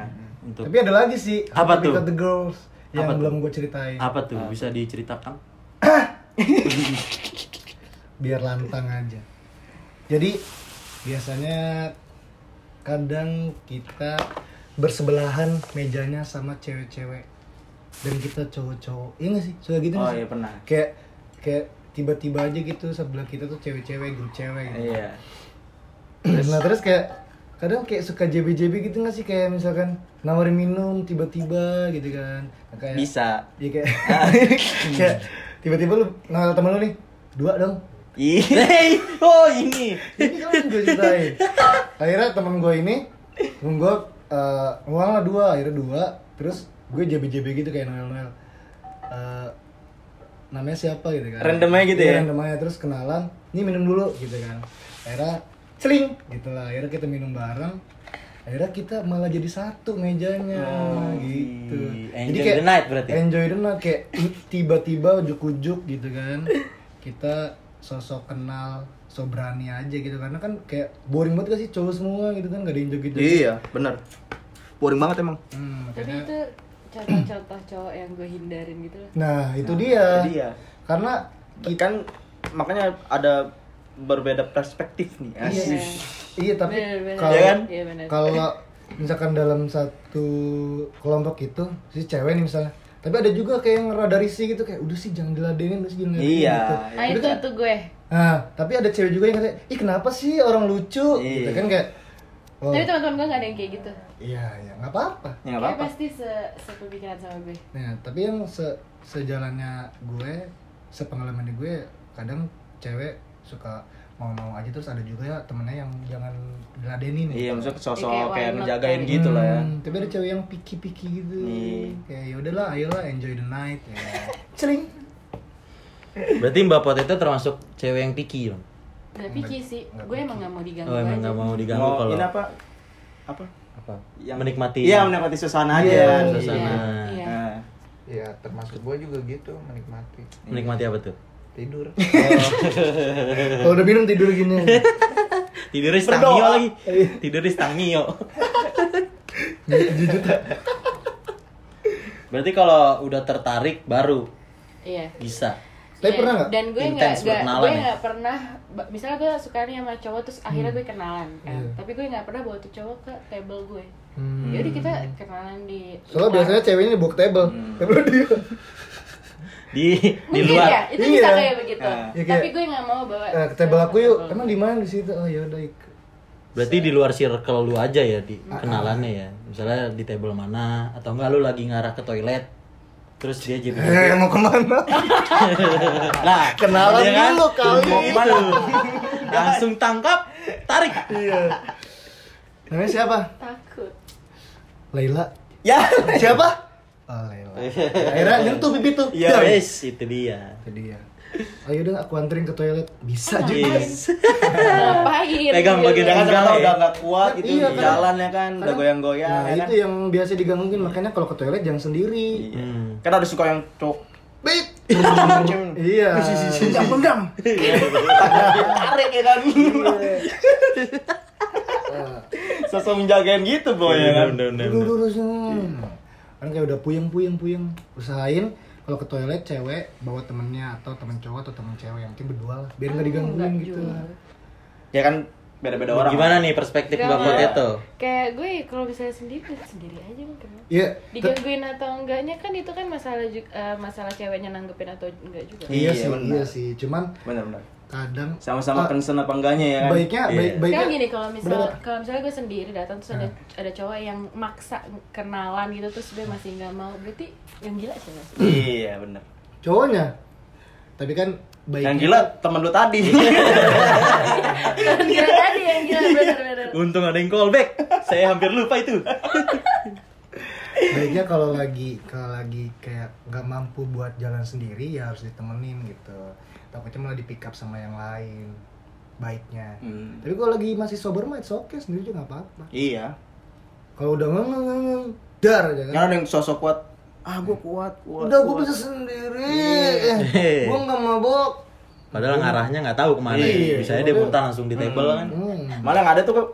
Speaker 1: untuk
Speaker 4: Tapi ada lagi sih.
Speaker 1: Apa
Speaker 4: How to
Speaker 1: tuh?
Speaker 4: Pick Up The Girls yang
Speaker 1: Apa tuh?
Speaker 4: belum gue ceritain.
Speaker 1: apa tuh bisa diceritakan?
Speaker 4: biar lantang aja jadi biasanya kadang kita bersebelahan mejanya sama cewek-cewek dan kita cowok-cowok iya gak sih suka gitu nggak
Speaker 3: Oh
Speaker 4: sih?
Speaker 3: iya pernah.
Speaker 4: kayak kayak tiba-tiba aja gitu sebelah kita tuh cewek-cewek grup cewek gitu.
Speaker 3: Iya.
Speaker 4: nah terus kayak kadang kayak suka JB-JB gitu gak sih kayak misalkan nawarin minum tiba-tiba gitu kan Nah, kayak,
Speaker 3: Bisa. Ah.
Speaker 4: iya kayak kayak tiba-tiba lu nawar temen lu nih dua dong
Speaker 3: Iya. oh ini.
Speaker 4: ini kan gue ceritain akhirnya temen gue ini temen gue eh, uang lah dua akhirnya dua terus gue jb jb gitu kayak noel noel Eh, namanya siapa gitu kan
Speaker 3: Random aja gitu
Speaker 4: Iya,
Speaker 3: ya?
Speaker 4: random aja terus kenalan ini minum dulu gitu kan akhirnya celing gitu lah akhirnya kita minum bareng akhirnya kita malah jadi satu mejanya gitu
Speaker 1: Enjoy the night berarti?
Speaker 4: enjoy the night kayak tiba-tiba ujuk-ujuk gitu kan kita sosok kenal so berani aja gitu karena kan kayak boring banget gak sih cowok semua gitu kan gak ada yang joget
Speaker 3: Iya, bener. Boring banget emang.
Speaker 4: hmm,
Speaker 5: Tapi
Speaker 4: makanya-
Speaker 5: itu contoh-contoh cowok yang gue hindarin gitu lah
Speaker 4: Nah, itu dia.
Speaker 3: itu dia.
Speaker 4: Karena
Speaker 3: Kita kan makanya ada berbeda perspektif nih.
Speaker 5: Iya.
Speaker 3: asik.
Speaker 4: iya tapi
Speaker 5: Bener, bener.
Speaker 4: kalau
Speaker 5: Iya kan? Iya, bener.
Speaker 4: kalau misalkan dalam satu kelompok itu si cewek nih misalnya tapi ada juga kayak yang rada risih gitu kayak udah sih jangan diladenin udah sih jangan diladenin
Speaker 3: Iya.
Speaker 4: gitu.
Speaker 5: nah itu
Speaker 4: Udah,
Speaker 5: itu gue
Speaker 4: nah, tapi ada cewek juga yang katanya, "Ih, kenapa sih orang lucu?"
Speaker 3: Iya.
Speaker 4: gitu kan kayak oh,
Speaker 5: tapi teman-teman gue gak ada yang kayak gitu
Speaker 4: iya, ya nggak apa-apa.
Speaker 3: Ya nggak
Speaker 5: kayak
Speaker 3: apa-apa.
Speaker 5: pasti se sepemikiran sama gue
Speaker 4: Nah, tapi yang se- sejalannya gue, sepengalaman di gue, kadang cewek suka mau-mau aja terus ada juga ya temennya yang jangan diladenin. ya.
Speaker 3: Iya, maksudnya sosok
Speaker 5: Iya, kayak
Speaker 3: kayak
Speaker 5: wild
Speaker 3: ngejagain
Speaker 5: kayak
Speaker 3: gitu lah ya.
Speaker 4: Hmm, Tapi ada cewek yang piki-piki gitu.
Speaker 3: Iya.
Speaker 4: Kayak yaudahlah, ayolah enjoy the night. Ya. Celing.
Speaker 1: Berarti Mbak Pot itu termasuk cewek yang picky, Bang.
Speaker 5: udah pikir sih
Speaker 4: nggak Iya.
Speaker 5: gue emang gak mau diganggu
Speaker 1: Oh, emang
Speaker 5: aja
Speaker 1: nggak mau diganggu
Speaker 3: Mau
Speaker 1: kalau
Speaker 3: ini apa? Apa?
Speaker 1: apa?
Speaker 3: Yang
Speaker 1: menikmati.
Speaker 3: Iya, menikmati suasana aja.
Speaker 4: Iya,
Speaker 5: Iya,
Speaker 1: suasana.
Speaker 5: iya.
Speaker 3: Nah,
Speaker 2: ya termasuk gue juga gitu menikmati
Speaker 1: Menikmati apa tuh?
Speaker 2: tidur
Speaker 4: Kalau udah minum tidur gini.
Speaker 1: Tidurnya stangio lagi. Tidurnya stangio.
Speaker 4: Jujur tak?
Speaker 1: Berarti kalau udah tertarik baru
Speaker 5: iya
Speaker 1: bisa.
Speaker 4: Tapi
Speaker 5: Iya,
Speaker 4: pernah nggak?
Speaker 5: Dan gue nggak
Speaker 1: Intens
Speaker 5: nggak
Speaker 1: berkenalan
Speaker 5: gue
Speaker 1: ya? Hmm.
Speaker 5: nggak pernah. ba- Misalnya gue suka nih sama cowok terus akhirnya gue kenalan kan.
Speaker 4: Iya.
Speaker 5: Tapi gue nggak pernah bawa tuh cowok ke table gue.
Speaker 4: Hmm.
Speaker 5: Jadi kita kenalan di.
Speaker 4: Soalnya
Speaker 5: luar.
Speaker 4: biasanya ceweknya di book table.
Speaker 3: Hmm.
Speaker 4: Tapi lu dia.
Speaker 1: Di di
Speaker 5: Mungkin ya,
Speaker 1: luar.
Speaker 5: itu bisa
Speaker 4: Iya.
Speaker 5: kayak begitu.
Speaker 4: Ya,
Speaker 5: Tapi
Speaker 4: kayak-
Speaker 5: gue nggak mau bawa.
Speaker 4: Eh, ke table aku yuk. Emang di mana di situ? Oh yaudah ikut.
Speaker 1: Berarti di luar circle lu aja ya di kenalannya ya. Misalnya di table mana atau enggak lu lagi ngarah ke toilet. Terus dia jadi
Speaker 4: Eh mau kemana?
Speaker 1: lah
Speaker 4: Kenalan
Speaker 1: dia kan
Speaker 4: dulu kali.
Speaker 1: Mau kemana? langsung tangkap tarik
Speaker 4: Iya. Namanya siapa?
Speaker 5: Takut.
Speaker 4: Laila.
Speaker 3: Ya.
Speaker 4: Siapa? Oh, Laila. Akhirnya nyentuh bibit tuh.
Speaker 1: ya
Speaker 3: Iya,
Speaker 4: Dar.
Speaker 1: wes itu dia
Speaker 4: Itu dia. Ayo udah aku anterin ke toilet. Bisa
Speaker 3: Iya,
Speaker 4: juga.
Speaker 1: Yes.
Speaker 5: Ngapain?
Speaker 1: Pegang
Speaker 5: Gitu.
Speaker 1: bagian
Speaker 3: kan
Speaker 1: Enggak,
Speaker 3: siapa tahu
Speaker 1: ya.
Speaker 3: udah nggak kuat gitu
Speaker 4: Iya,
Speaker 3: di
Speaker 4: kan.
Speaker 3: jalan ya kan, udah
Speaker 4: Kadang-
Speaker 3: goyang-goyang
Speaker 4: Nah,
Speaker 3: ya kan.
Speaker 4: itu yang biasa digangguin makanya kalau ke toilet jangan sendiri.
Speaker 3: Iya.
Speaker 1: Hmm.
Speaker 3: Kan ada suka yang cok.
Speaker 4: Bit. Iya. Bendam, bendam.
Speaker 3: Tarik ya kan. Sosok menjagain gitu boy
Speaker 4: Iya,
Speaker 3: ya kan.
Speaker 4: Dulu Kan kayak udah puyeng puyeng puyeng. Usahain kalau ke toilet cewek bawa temennya atau temen cowok atau temen cewek yang penting berdua lah biar nggak digangguin
Speaker 5: Ah, Nggak
Speaker 4: gitu
Speaker 5: juga.
Speaker 4: lah.
Speaker 3: Ya kan beda-beda orang.
Speaker 1: gimana nih perspektif
Speaker 5: Nggak
Speaker 1: Mbak
Speaker 5: mau.
Speaker 1: Potato
Speaker 5: Kayak gue kalau misalnya sendiri sendiri aja mungkin.
Speaker 4: Iya. te-
Speaker 5: Digangguin atau enggaknya kan itu kan masalah juga, eh, masalah ceweknya nanggepin atau enggak juga.
Speaker 3: Iya,
Speaker 4: Iya sih,
Speaker 3: benar.
Speaker 4: iya sih. Cuman
Speaker 3: Benar-benar.
Speaker 4: kadang
Speaker 3: Sama-sama
Speaker 4: Ah,
Speaker 3: concern apa enggaknya ya kan.
Speaker 4: baiknya baik baiknya
Speaker 5: Sekarang gini kalau misal
Speaker 4: Bener.
Speaker 5: kalau misalnya gue sendiri datang terus ada ada cowok yang maksa kenalan gitu terus gue masih nggak mau berarti yang gila sih Mas.
Speaker 3: Iya benar.
Speaker 4: cowoknya tapi kan baiknya Iya.
Speaker 3: Yang gitu. gila teman lu tadi.
Speaker 5: Yang gila tadi yang gila bener-bener.
Speaker 1: untung ada yang callback saya hampir lupa itu
Speaker 4: baiknya kalau lagi kalau lagi kayak nggak mampu buat jalan sendiri ya harus ditemenin gitu takutnya malah di pick up sama yang lain baiknya
Speaker 3: Hmm.
Speaker 4: tapi kalau lagi masih sober mah it's okay sendiri juga nggak apa-apa
Speaker 3: iya.
Speaker 4: kalau udah ngeng ngeng ngeng, ngeng, dar aja kan
Speaker 3: Kan ada yang sosok kuat. Ah gua kuat, kuat.
Speaker 4: udah gue
Speaker 3: kuat.
Speaker 4: bisa sendiri
Speaker 1: Iya.
Speaker 4: eh, gue nggak mabok
Speaker 1: padahal ngarahnya nggak tahu kemana ya.
Speaker 4: Iya.
Speaker 1: bisa aja dia muntah langsung di table kan
Speaker 4: hmm.
Speaker 3: Malah yang ada tuh ke-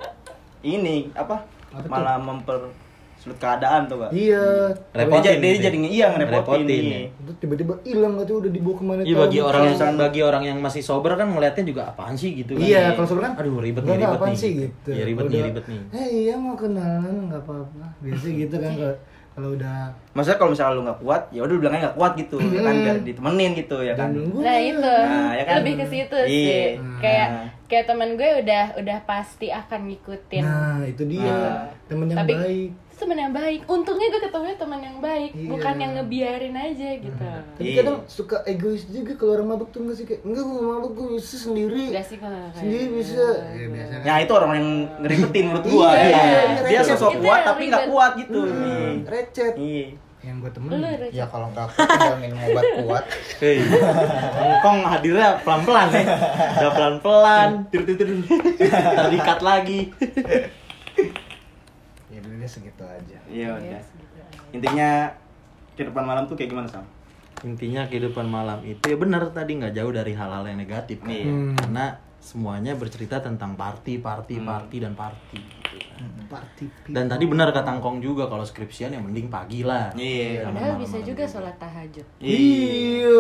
Speaker 3: ini apa?
Speaker 4: Apa tuh?
Speaker 3: Malah mempersulit keadaan tuh, Pak.
Speaker 4: iya
Speaker 3: Repot
Speaker 1: Repotin.
Speaker 3: jadi dia jadi nge- iya ngerepotin.
Speaker 1: Ngerepotin,
Speaker 3: iya.
Speaker 1: ya.
Speaker 4: Itu tiba-tiba hilang katanya udah dibawa kemana
Speaker 1: Iya bagi
Speaker 4: tahu.
Speaker 1: orang yang bagi orang yang masih sober kan ngelihatnya juga apaan sih gitu kan.
Speaker 4: Iya, kalau sober kan,
Speaker 1: aduh ribet
Speaker 4: enggak,
Speaker 1: nih ribet
Speaker 4: apaan
Speaker 1: nih.
Speaker 4: sih gitu.
Speaker 1: Iya ribet
Speaker 4: Kalau
Speaker 1: nih
Speaker 4: udah,
Speaker 1: ribet nih.
Speaker 4: Eh iya mau kenalan nggak apa-apa. Biasanya gitu kan kalau kalau udah
Speaker 3: Maksudnya kalau misalnya lu nggak kuat, ya udah lu bilangnya nggak kuat gitu, ya kan biar ditemenin gitu ya kan.
Speaker 4: nunggu.
Speaker 5: Nah itu
Speaker 3: Nah, ya kan?
Speaker 5: lebih ke situ
Speaker 3: Iya.
Speaker 5: sih kayak kayak teman gue udah udah pasti akan ngikutin.
Speaker 4: Nah, itu dia.
Speaker 1: Ah.
Speaker 4: Temen yang
Speaker 5: Tapi-
Speaker 4: baik.
Speaker 5: Itu teman yang baik. Untungnya gue ketemu teman yang baik,
Speaker 4: Iya.
Speaker 5: bukan yang ngebiarin aja gitu.
Speaker 4: Tapi
Speaker 3: Iya.
Speaker 4: kadang suka egois juga kalau orang mabuk tuh nggak sih kayak enggak gue nggak mabuk gue bisa sendiri.
Speaker 5: Gak sih gue nggak kayak
Speaker 4: Sendiri
Speaker 5: gitu.
Speaker 4: bisa. Iya biasa.
Speaker 3: Ya itu orang yang ngeribetin menurut gua
Speaker 4: Iya,
Speaker 3: ya. kan?
Speaker 4: iya, iya,
Speaker 3: Dia
Speaker 4: iya.
Speaker 3: sosok
Speaker 5: Itu
Speaker 3: kuat
Speaker 5: yang
Speaker 3: tapi nggak
Speaker 5: ribet.
Speaker 3: kuat gitu.
Speaker 1: Hmm.
Speaker 4: Recet.
Speaker 3: Iya.
Speaker 4: Yang gue temen.
Speaker 5: Lu Rek.
Speaker 2: ya kalau nggak aku tinggal minum obat kuat
Speaker 1: Hei, Hongkong hadirnya pelan-pelan ya. Udah pelan-pelan, tidur-tidur. Terdikat lagi.
Speaker 4: Ya udah deh, Iya, segitu aja.
Speaker 3: Iya udah. Intinya kehidupan malam tuh kayak gimana, Sam?
Speaker 1: intinya kehidupan malam itu ya benar tadi nggak jauh dari hal-hal yang negatif kan?
Speaker 7: Iya.
Speaker 1: karena semuanya bercerita tentang party
Speaker 7: Hmm.
Speaker 1: party party dan party gitu kan. dan tadi benar kata Kong juga kalau skripsian yang mending pagi lah
Speaker 7: Iya.
Speaker 1: Jangan
Speaker 5: Padahal bisa
Speaker 1: malam-malam.
Speaker 5: juga sholat tahajud.
Speaker 4: Iya.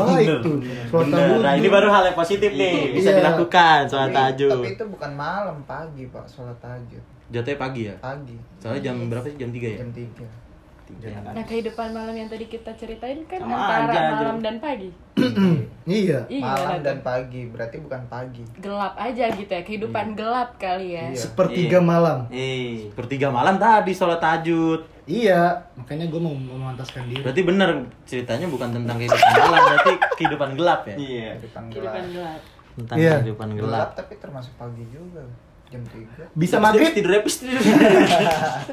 Speaker 4: Baik tuh. Sholat
Speaker 7: Bener. Nah, ini
Speaker 4: tahajud.
Speaker 7: baru hal yang positif nih, bisa
Speaker 4: Iya.
Speaker 7: dilakukan sholat
Speaker 2: Tapi- Tapi
Speaker 7: tahajud.
Speaker 2: itu bukan malam, pagi pak, sholat tahajud.
Speaker 1: jatuhnya pagi ya
Speaker 2: Pagi,
Speaker 1: soalnya
Speaker 5: Iya.
Speaker 1: jam berapa sih jam 3 ya
Speaker 2: jam 3.
Speaker 5: Nah kehidupan malam yang tadi kita ceritain kan
Speaker 7: Sama
Speaker 5: antara
Speaker 7: aja,
Speaker 5: malam dan pagi.
Speaker 4: Iya.
Speaker 5: Iya gimana
Speaker 2: Malam
Speaker 5: tuh?
Speaker 2: dan pagi, berarti bukan pagi.
Speaker 5: gelap aja gitu ya kehidupan gelap kali ya.
Speaker 4: Iya. Sepertiga malam.
Speaker 7: Eh,
Speaker 1: sepertiga malam tadi sholat tahajud
Speaker 4: Iya. Makanya gue mau memantaskan diri.
Speaker 1: berarti benar ceritanya bukan tentang kehidupan malam berarti kehidupan gelap ya
Speaker 7: iya.
Speaker 2: Kehidupan
Speaker 5: Kehidupan
Speaker 2: gelap.
Speaker 5: gelap.
Speaker 1: tentang
Speaker 4: Iya.
Speaker 1: kehidupan gelap
Speaker 2: Gelap tapi termasuk pagi juga. Jam 3.
Speaker 4: Bisa
Speaker 7: Terus
Speaker 4: maghrib.
Speaker 7: tidurnya pis tidur.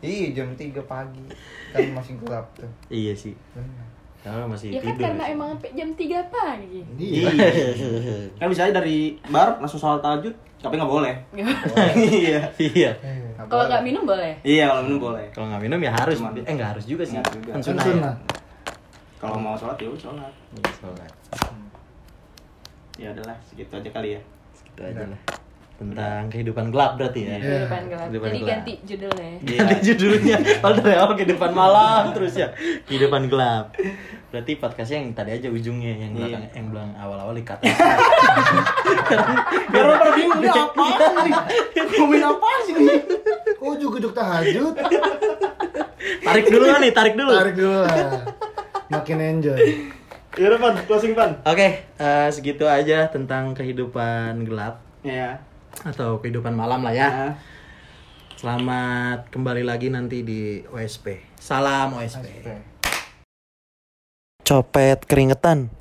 Speaker 2: Iya, jam 3 pagi. Kan masih gelap tuh.
Speaker 1: iya sih
Speaker 2: Benar.
Speaker 1: karena masih
Speaker 5: Ya kan
Speaker 1: tidur
Speaker 5: karena
Speaker 1: sih.
Speaker 5: emang sampai jam 3 pagi.
Speaker 4: Iya.
Speaker 3: kan bisa aja dari bar langsung soal tahajud tapi nggak boleh
Speaker 7: Iya.
Speaker 1: iya
Speaker 4: Eh,
Speaker 5: Kalau nggak minum boleh.
Speaker 3: iya kalau minum boleh
Speaker 1: kalau nggak minum ya harus
Speaker 3: Cuman-
Speaker 1: eh nggak harus juga sih
Speaker 3: Nggak harus juga.
Speaker 1: kan
Speaker 4: Kan
Speaker 1: sunnah ya.
Speaker 4: sunnah.
Speaker 3: kalau mau sholat ya udah sholat
Speaker 1: Iya, sholat.
Speaker 3: ya udahlah segitu aja kali ya
Speaker 1: Gitu aja lah. Tentang kehidupan gelap berarti ya. Iya.
Speaker 5: Kehidupan gelap.
Speaker 1: Kehidupan
Speaker 5: Jadi
Speaker 1: gelap.
Speaker 5: ganti judulnya.
Speaker 1: Ganti judulnya. Kalau dari awal kehidupan malam terus ya. Kehidupan gelap. Berarti podcastnya yang tadi aja ujungnya yang belakang yang belakang awal-awal dikatain.
Speaker 3: biar lo pada bingung ini apaan nih ngomongin apaan sih nih
Speaker 4: Oh juga duduk tahajud.
Speaker 1: tarik dulu lah nih, tarik dulu.
Speaker 4: Tarik dulu lah. Makin enjoy.
Speaker 7: Iya, Pan, closing Pan.
Speaker 1: Oke, eh, segitu aja tentang kehidupan gelap
Speaker 3: ya
Speaker 1: atau kehidupan malam lah ya.
Speaker 3: Ah.
Speaker 1: Selamat kembali lagi nanti di
Speaker 2: Iya.
Speaker 1: OSP. Salam OSP.
Speaker 2: Oke.
Speaker 1: Copet keringetan.